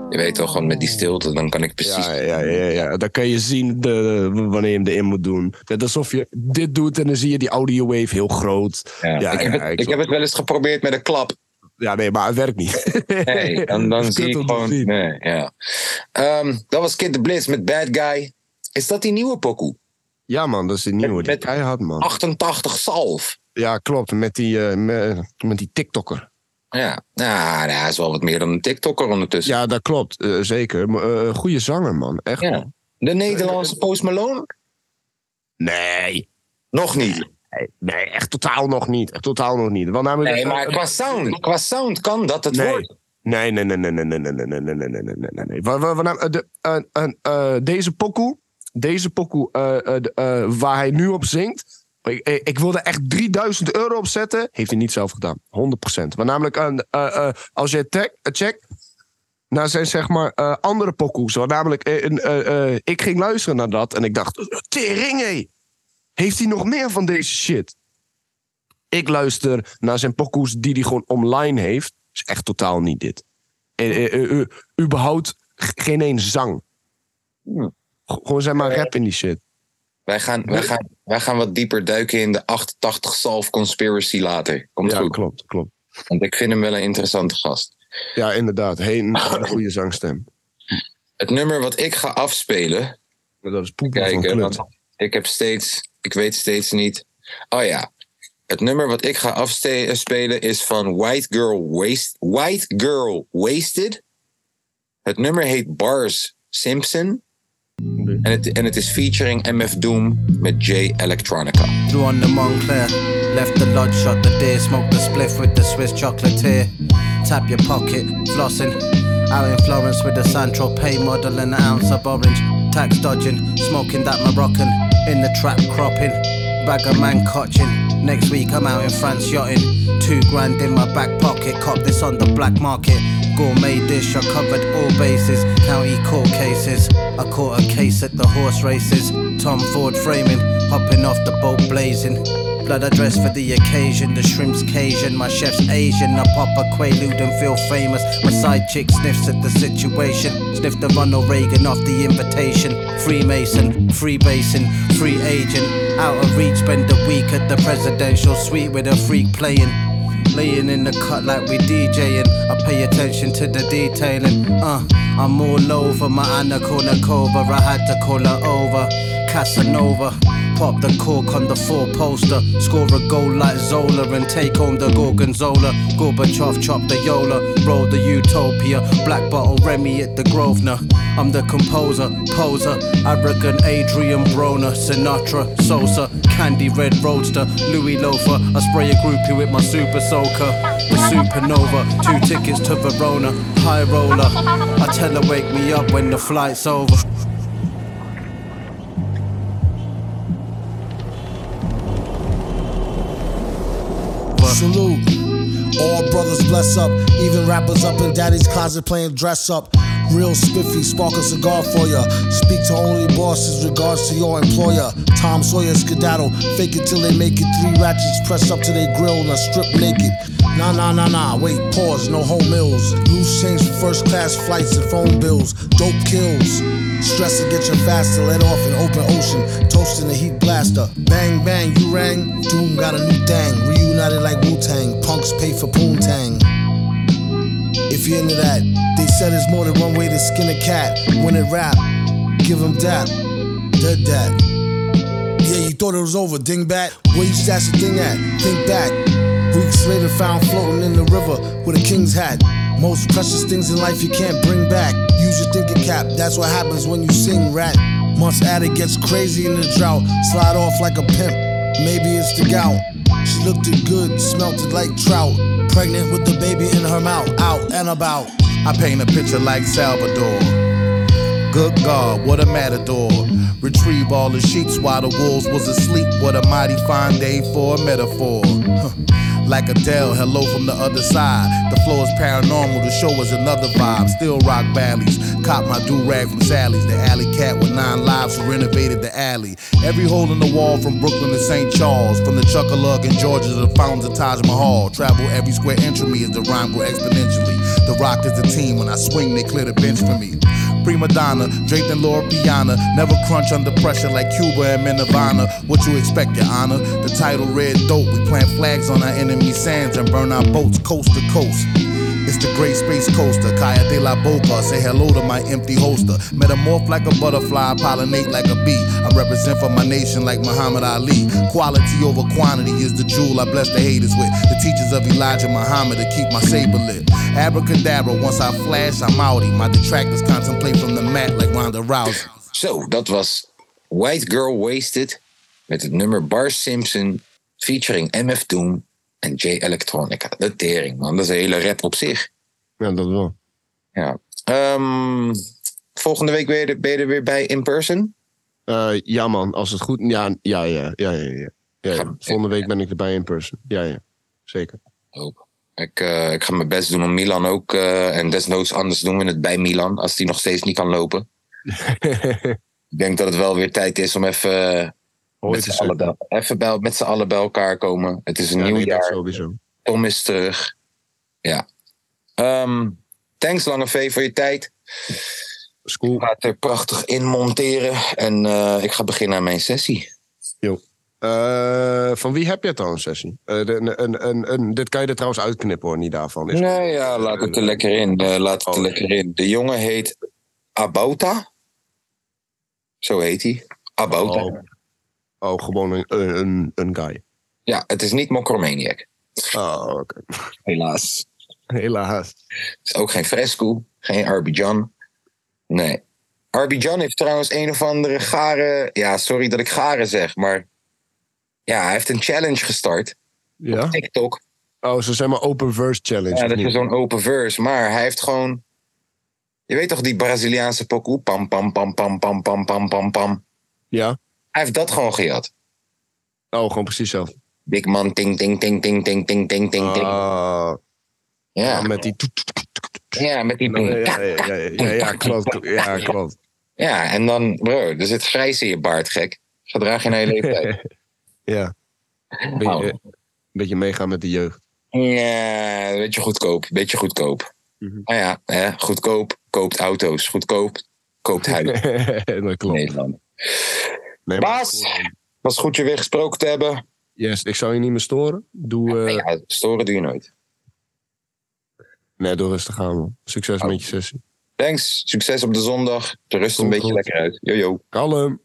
S1: Je weet toch, gewoon met die stilte, dan kan ik precies...
S7: Ja, ja, ja, ja. Dan kan je zien de, wanneer je hem erin moet doen. Net alsof je dit doet en dan zie je die audio wave heel groot. Ja,
S1: ik, heb
S7: ja,
S1: het, ik heb het wel eens geprobeerd met een klap.
S7: ja, nee, maar het werkt niet.
S1: Nee, dan, dan
S7: Het is
S1: zie
S7: kut
S1: ik
S7: om te
S1: gewoon...
S7: zien.
S1: Nee, ja. Ehm, dat was Kid the Bliss met Bad Guy. Is dat die nieuwe pokoe?
S7: Ja, man, dat is die nieuwe. Die
S1: met- Oh.
S7: keihard, man.
S1: 88 Salf.
S7: Ja, klopt. Met die, eh, me- met die TikTokker.
S1: Ja, nou, hij is wel wat meer dan een TikToker ondertussen.
S7: Ja, dat klopt. eh, zeker. Maar, eh, goede zanger, man. Echt.
S1: Ja.
S7: man.
S1: De Nederlandse Post Malone?
S7: Nee.
S1: Nog niet.
S7: nee. Nee, echt totaal nog niet. Echt totaal nog niet. Want namelijk,
S1: Nee, maar qua sound, qua sound kan dat het
S7: Nee.
S1: wordt.
S7: Nee, nee, nee, nee, nee, nee, nee, nee, nee, nee, nee, nee, nee, nee, nee. Wa- wa- wa- nou, eh, de- eh, eh, eh, Deze pokoe, deze pokoe eh, eh, de- eh, waar hij nu op zingt, ik, eh, ik wilde echt 3000 euro op zetten, heeft hij niet zelf gedaan. 100%. Want namelijk, eh, eh, eh, als je tag- eh, checkt naar zijn zeg maar eh, andere pokoes, want namelijk, eh, een, eh, eh, ik ging luisteren naar dat en ik dacht, tering hé, heeft hij nog meer van deze shit? Ik luister naar zijn pokoes die hij gewoon online heeft. Is echt totaal niet dit. En, eh, eh, eh, überhaupt g- geen één zang. G- Gewoon zeg maar rap in die shit.
S1: Wij gaan, wij, gaan, wij gaan wat dieper duiken in de 88 Salf Conspiracy later. Komt
S7: Ja,
S1: goed.
S7: klopt, klopt.
S1: Want ik vind hem wel een interessante gast.
S7: Ja, inderdaad. Heen, een goede zangstem.
S1: Het nummer wat ik ga afspelen.
S7: Maar Dat is poepen van
S1: Kijken,
S7: club.
S1: want ik heb steeds. Ik weet steeds niet. Oh ja. Het nummer wat ik ga afspelen is van White Girl, Waste, White Girl Wasted. Het nummer heet Bars Simpson. En het, en het is featuring MF Doom met J Electronica.
S9: Drew on the Montclair. Left the lodge, shot the deer, smoked the spliff with the Swiss chocolatier. Tap your pocket, flossing. Out in Florence with the Santro pay model and an ounce of orange. Tax dodging, smoking that Moroccan. In the trap cropping, bag of man cotching. Next week I'm out in France yachting. Two grand in my back pocket, cop this on the black market. Gourmet dish, I covered all bases. County court cases, I caught a case at the horse races. Tom Ford framing, hopping off the boat blazing. Blood I dress for the occasion, the shrimp's Cajun, my chef's Asian. I pop a quaalude and feel famous. My side chick sniffs at the situation. Sniff the Ronald Reagan off the invitation. Freemason, free basin, free agent. Out of reach, spend a week at the presidential suite with a freak playing. Laying in the cut like we DJing. I pay attention to the detailing. Uh, I'm all over my Anna Kournikova. I had to call her over. Casanova. Pop the cork on the four poster. Score a goal like Zola and take home the Gorgonzola. Gorbachev chop the Yola. Roll the Utopia. Black bottle Remy at the Grosvenor. I'm the composer, poser. Arrogant Adrian Broner. Sinatra, Sosa. Candy Red Roadster. Louis Loafer. I spray a groupie with my super soaker. The supernova, two tickets to Verona, high roller. I tell her wake me up when the flight's over.
S10: All brothers bless up, even rappers up in daddy's closet playing dress up. Real spiffy, spark a cigar for ya. Speak to only bosses, regards to your employer. Tom Sawyer skedaddle, fake it till they make it. Three ratchets pressed up to their grill and I strip naked. Nah, nah, nah, nah, wait, pause, no home meals. Loose change for first class flights and phone bills. Dope kills. Stress to get you faster, let off in open ocean. Toasting the heat blaster. Bang, bang, you rang. Doom got a new thing. Reunited like Wu Tang. Punks pay for Poontang. If you're into that, they said there's more than one way to skin a cat. When it rap, give 'em that, dead that. Yeah, you thought it was over, dingbat. Where you stash the thing at? Think back. Weeks later, found floating in the river with a king's hat. Most precious things in life you can't bring back. Use your thinking cap, that's what happens when you sing rat. Months at it gets crazy in the drought. Slide off like a pimp, maybe it's the gout. She looked it good, smelt it like trout. Pregnant with the baby in her mouth, out and about.
S3: I paint a picture like Salvador. Good God, what a matador. Retrieve all the sheeps while the wolves was asleep. What a mighty fine day for a metaphor. Huh. Like Adele, hello from the other side. The flow is paranormal, the show is another vibe. Still rock valleys. Cop my do rag from Sally's. The alley cat with nine lives who renovated the alley. Every hole in the wall from Brooklyn to St. Charles. From the Chuckalug in Georgia to the fountains of Taj Mahal. Travel every square inch of me as the rhyme grow exponentially. The rock is the team. When I swing, they clear the bench for me. Prima donna, draped in Laura Piana. Never crunch under pressure like Cuba and Minervana. What you expect, Your Honor? The title Red Dope. We plant flags on our enemy sands and burn our boats coast to coast. It's the great space coaster, Kaya de la Boca. Say hello to my empty holster. Metamorph like a butterfly, pollinate like a bee. I represent for my nation like Muhammad Ali. Quality over quantity is the jewel I bless the haters with. The teachers of Elijah Muhammad to keep my saber lit. Abracadabra, once I flash, I'm outie. My detractors contemplate from the mat like Ronda Rousey.
S1: Zo, dat was White Girl Wasted met het nummer Bar Simpson featuring MF Doom en J Electronica. De tering, man. Dat is een hele rap op zich.
S7: Ja, dat wel.
S1: Ja. Ehm, volgende week ben je, er, ben je er weer bij in person?
S7: Eh, ja, man, als het goed... Ja, ja, ja, ja, ja. ja, ja, ja. Volgende week ben ik erbij in person. Ja, ja, zeker.
S1: Hoop. Ik, eh, ik ga mijn best doen om Milan ook. eh, en desnoods anders doen we het bij Milan, als die nog steeds niet kan lopen. ik denk dat het wel weer tijd is om even, eh, met, z'n allen, bij- even bij, met z'n allen bij elkaar komen. Het is een
S7: Ja,
S1: nieuw
S7: nee, dat
S1: jaar.
S7: sowieso.
S1: Tom is terug. Ja. Ehm, thanks, Lange V, voor je tijd.
S7: School.
S1: Ik ga het er prachtig in monteren. En eh, ik ga beginnen aan mijn sessie.
S7: Jo. Eh, van wie heb je het dan, een sessie? Eh, de- een, een, een, een- dit kan je er trouwens uitknippen, hoor, niet daarvan. Is
S1: Nou ja, laat het er lekker in. Eh, laat het er lekker in. De jongen heet Abouta. Zo heet hij. Abouta.
S7: Oh. Oh, gewoon een, een, een, een guy.
S1: Ja, het is niet Mokromaniac.
S7: Oh, oké.
S1: Helaas.
S7: Helaas.
S1: Het is ook geen Fresco, geen Arbidjan. Nee. Arbidjan heeft trouwens een of andere gare... Ja, sorry dat ik gare zeg, maar... Ja, hij heeft een challenge gestart.
S7: Ja?
S1: TikTok.
S7: Oh, ze zijn maar open verse challenge.
S1: Ja,
S7: of
S1: dat
S7: niet?
S1: is zo'n open verse. Maar hij heeft gewoon... Je weet toch die Braziliaanse pokoe? Pam, pam, pam, pam, pam, pam, pam, pam, pam.
S7: Ja.
S1: Hij heeft dat gewoon gejat.
S7: Oh, gewoon precies zelf.
S1: Big man, ting, ting, ting, ting, ting, ting, ting, ting, ting.
S7: Ah,
S1: ja.
S7: ah, met die... toet-
S1: ja, met die...
S7: Ja, ja, ja, ja, ja, ja, klopt. Ja, klopt.
S1: Ja, en dan, bro, er zit grijs in je baard, gek. Gedraag je naar je leeftijd.
S7: Ja. Beetje,
S1: Nou,
S7: een beetje meegaan met de jeugd.
S1: ja, een beetje goedkoop, een beetje goedkoop.
S7: Mhm.
S1: Nou ja, hè, goedkoop koopt auto's, goedkoop koopt huis.
S7: dat klopt.
S1: Nederland.
S7: Nee, maar-
S1: Baas, was goed je weer gesproken te hebben.
S7: Yes, ik zou je niet meer storen. Doe, eh,
S1: Ja, storen doe je nooit.
S7: Nee, doe rustig aan, man.
S1: Oh.
S7: Succes met je sessie.
S1: Thanks, succes op de zondag. De rust een
S7: Komt
S1: beetje
S7: goed.
S1: lekker uit. Jojo.
S7: Kalm.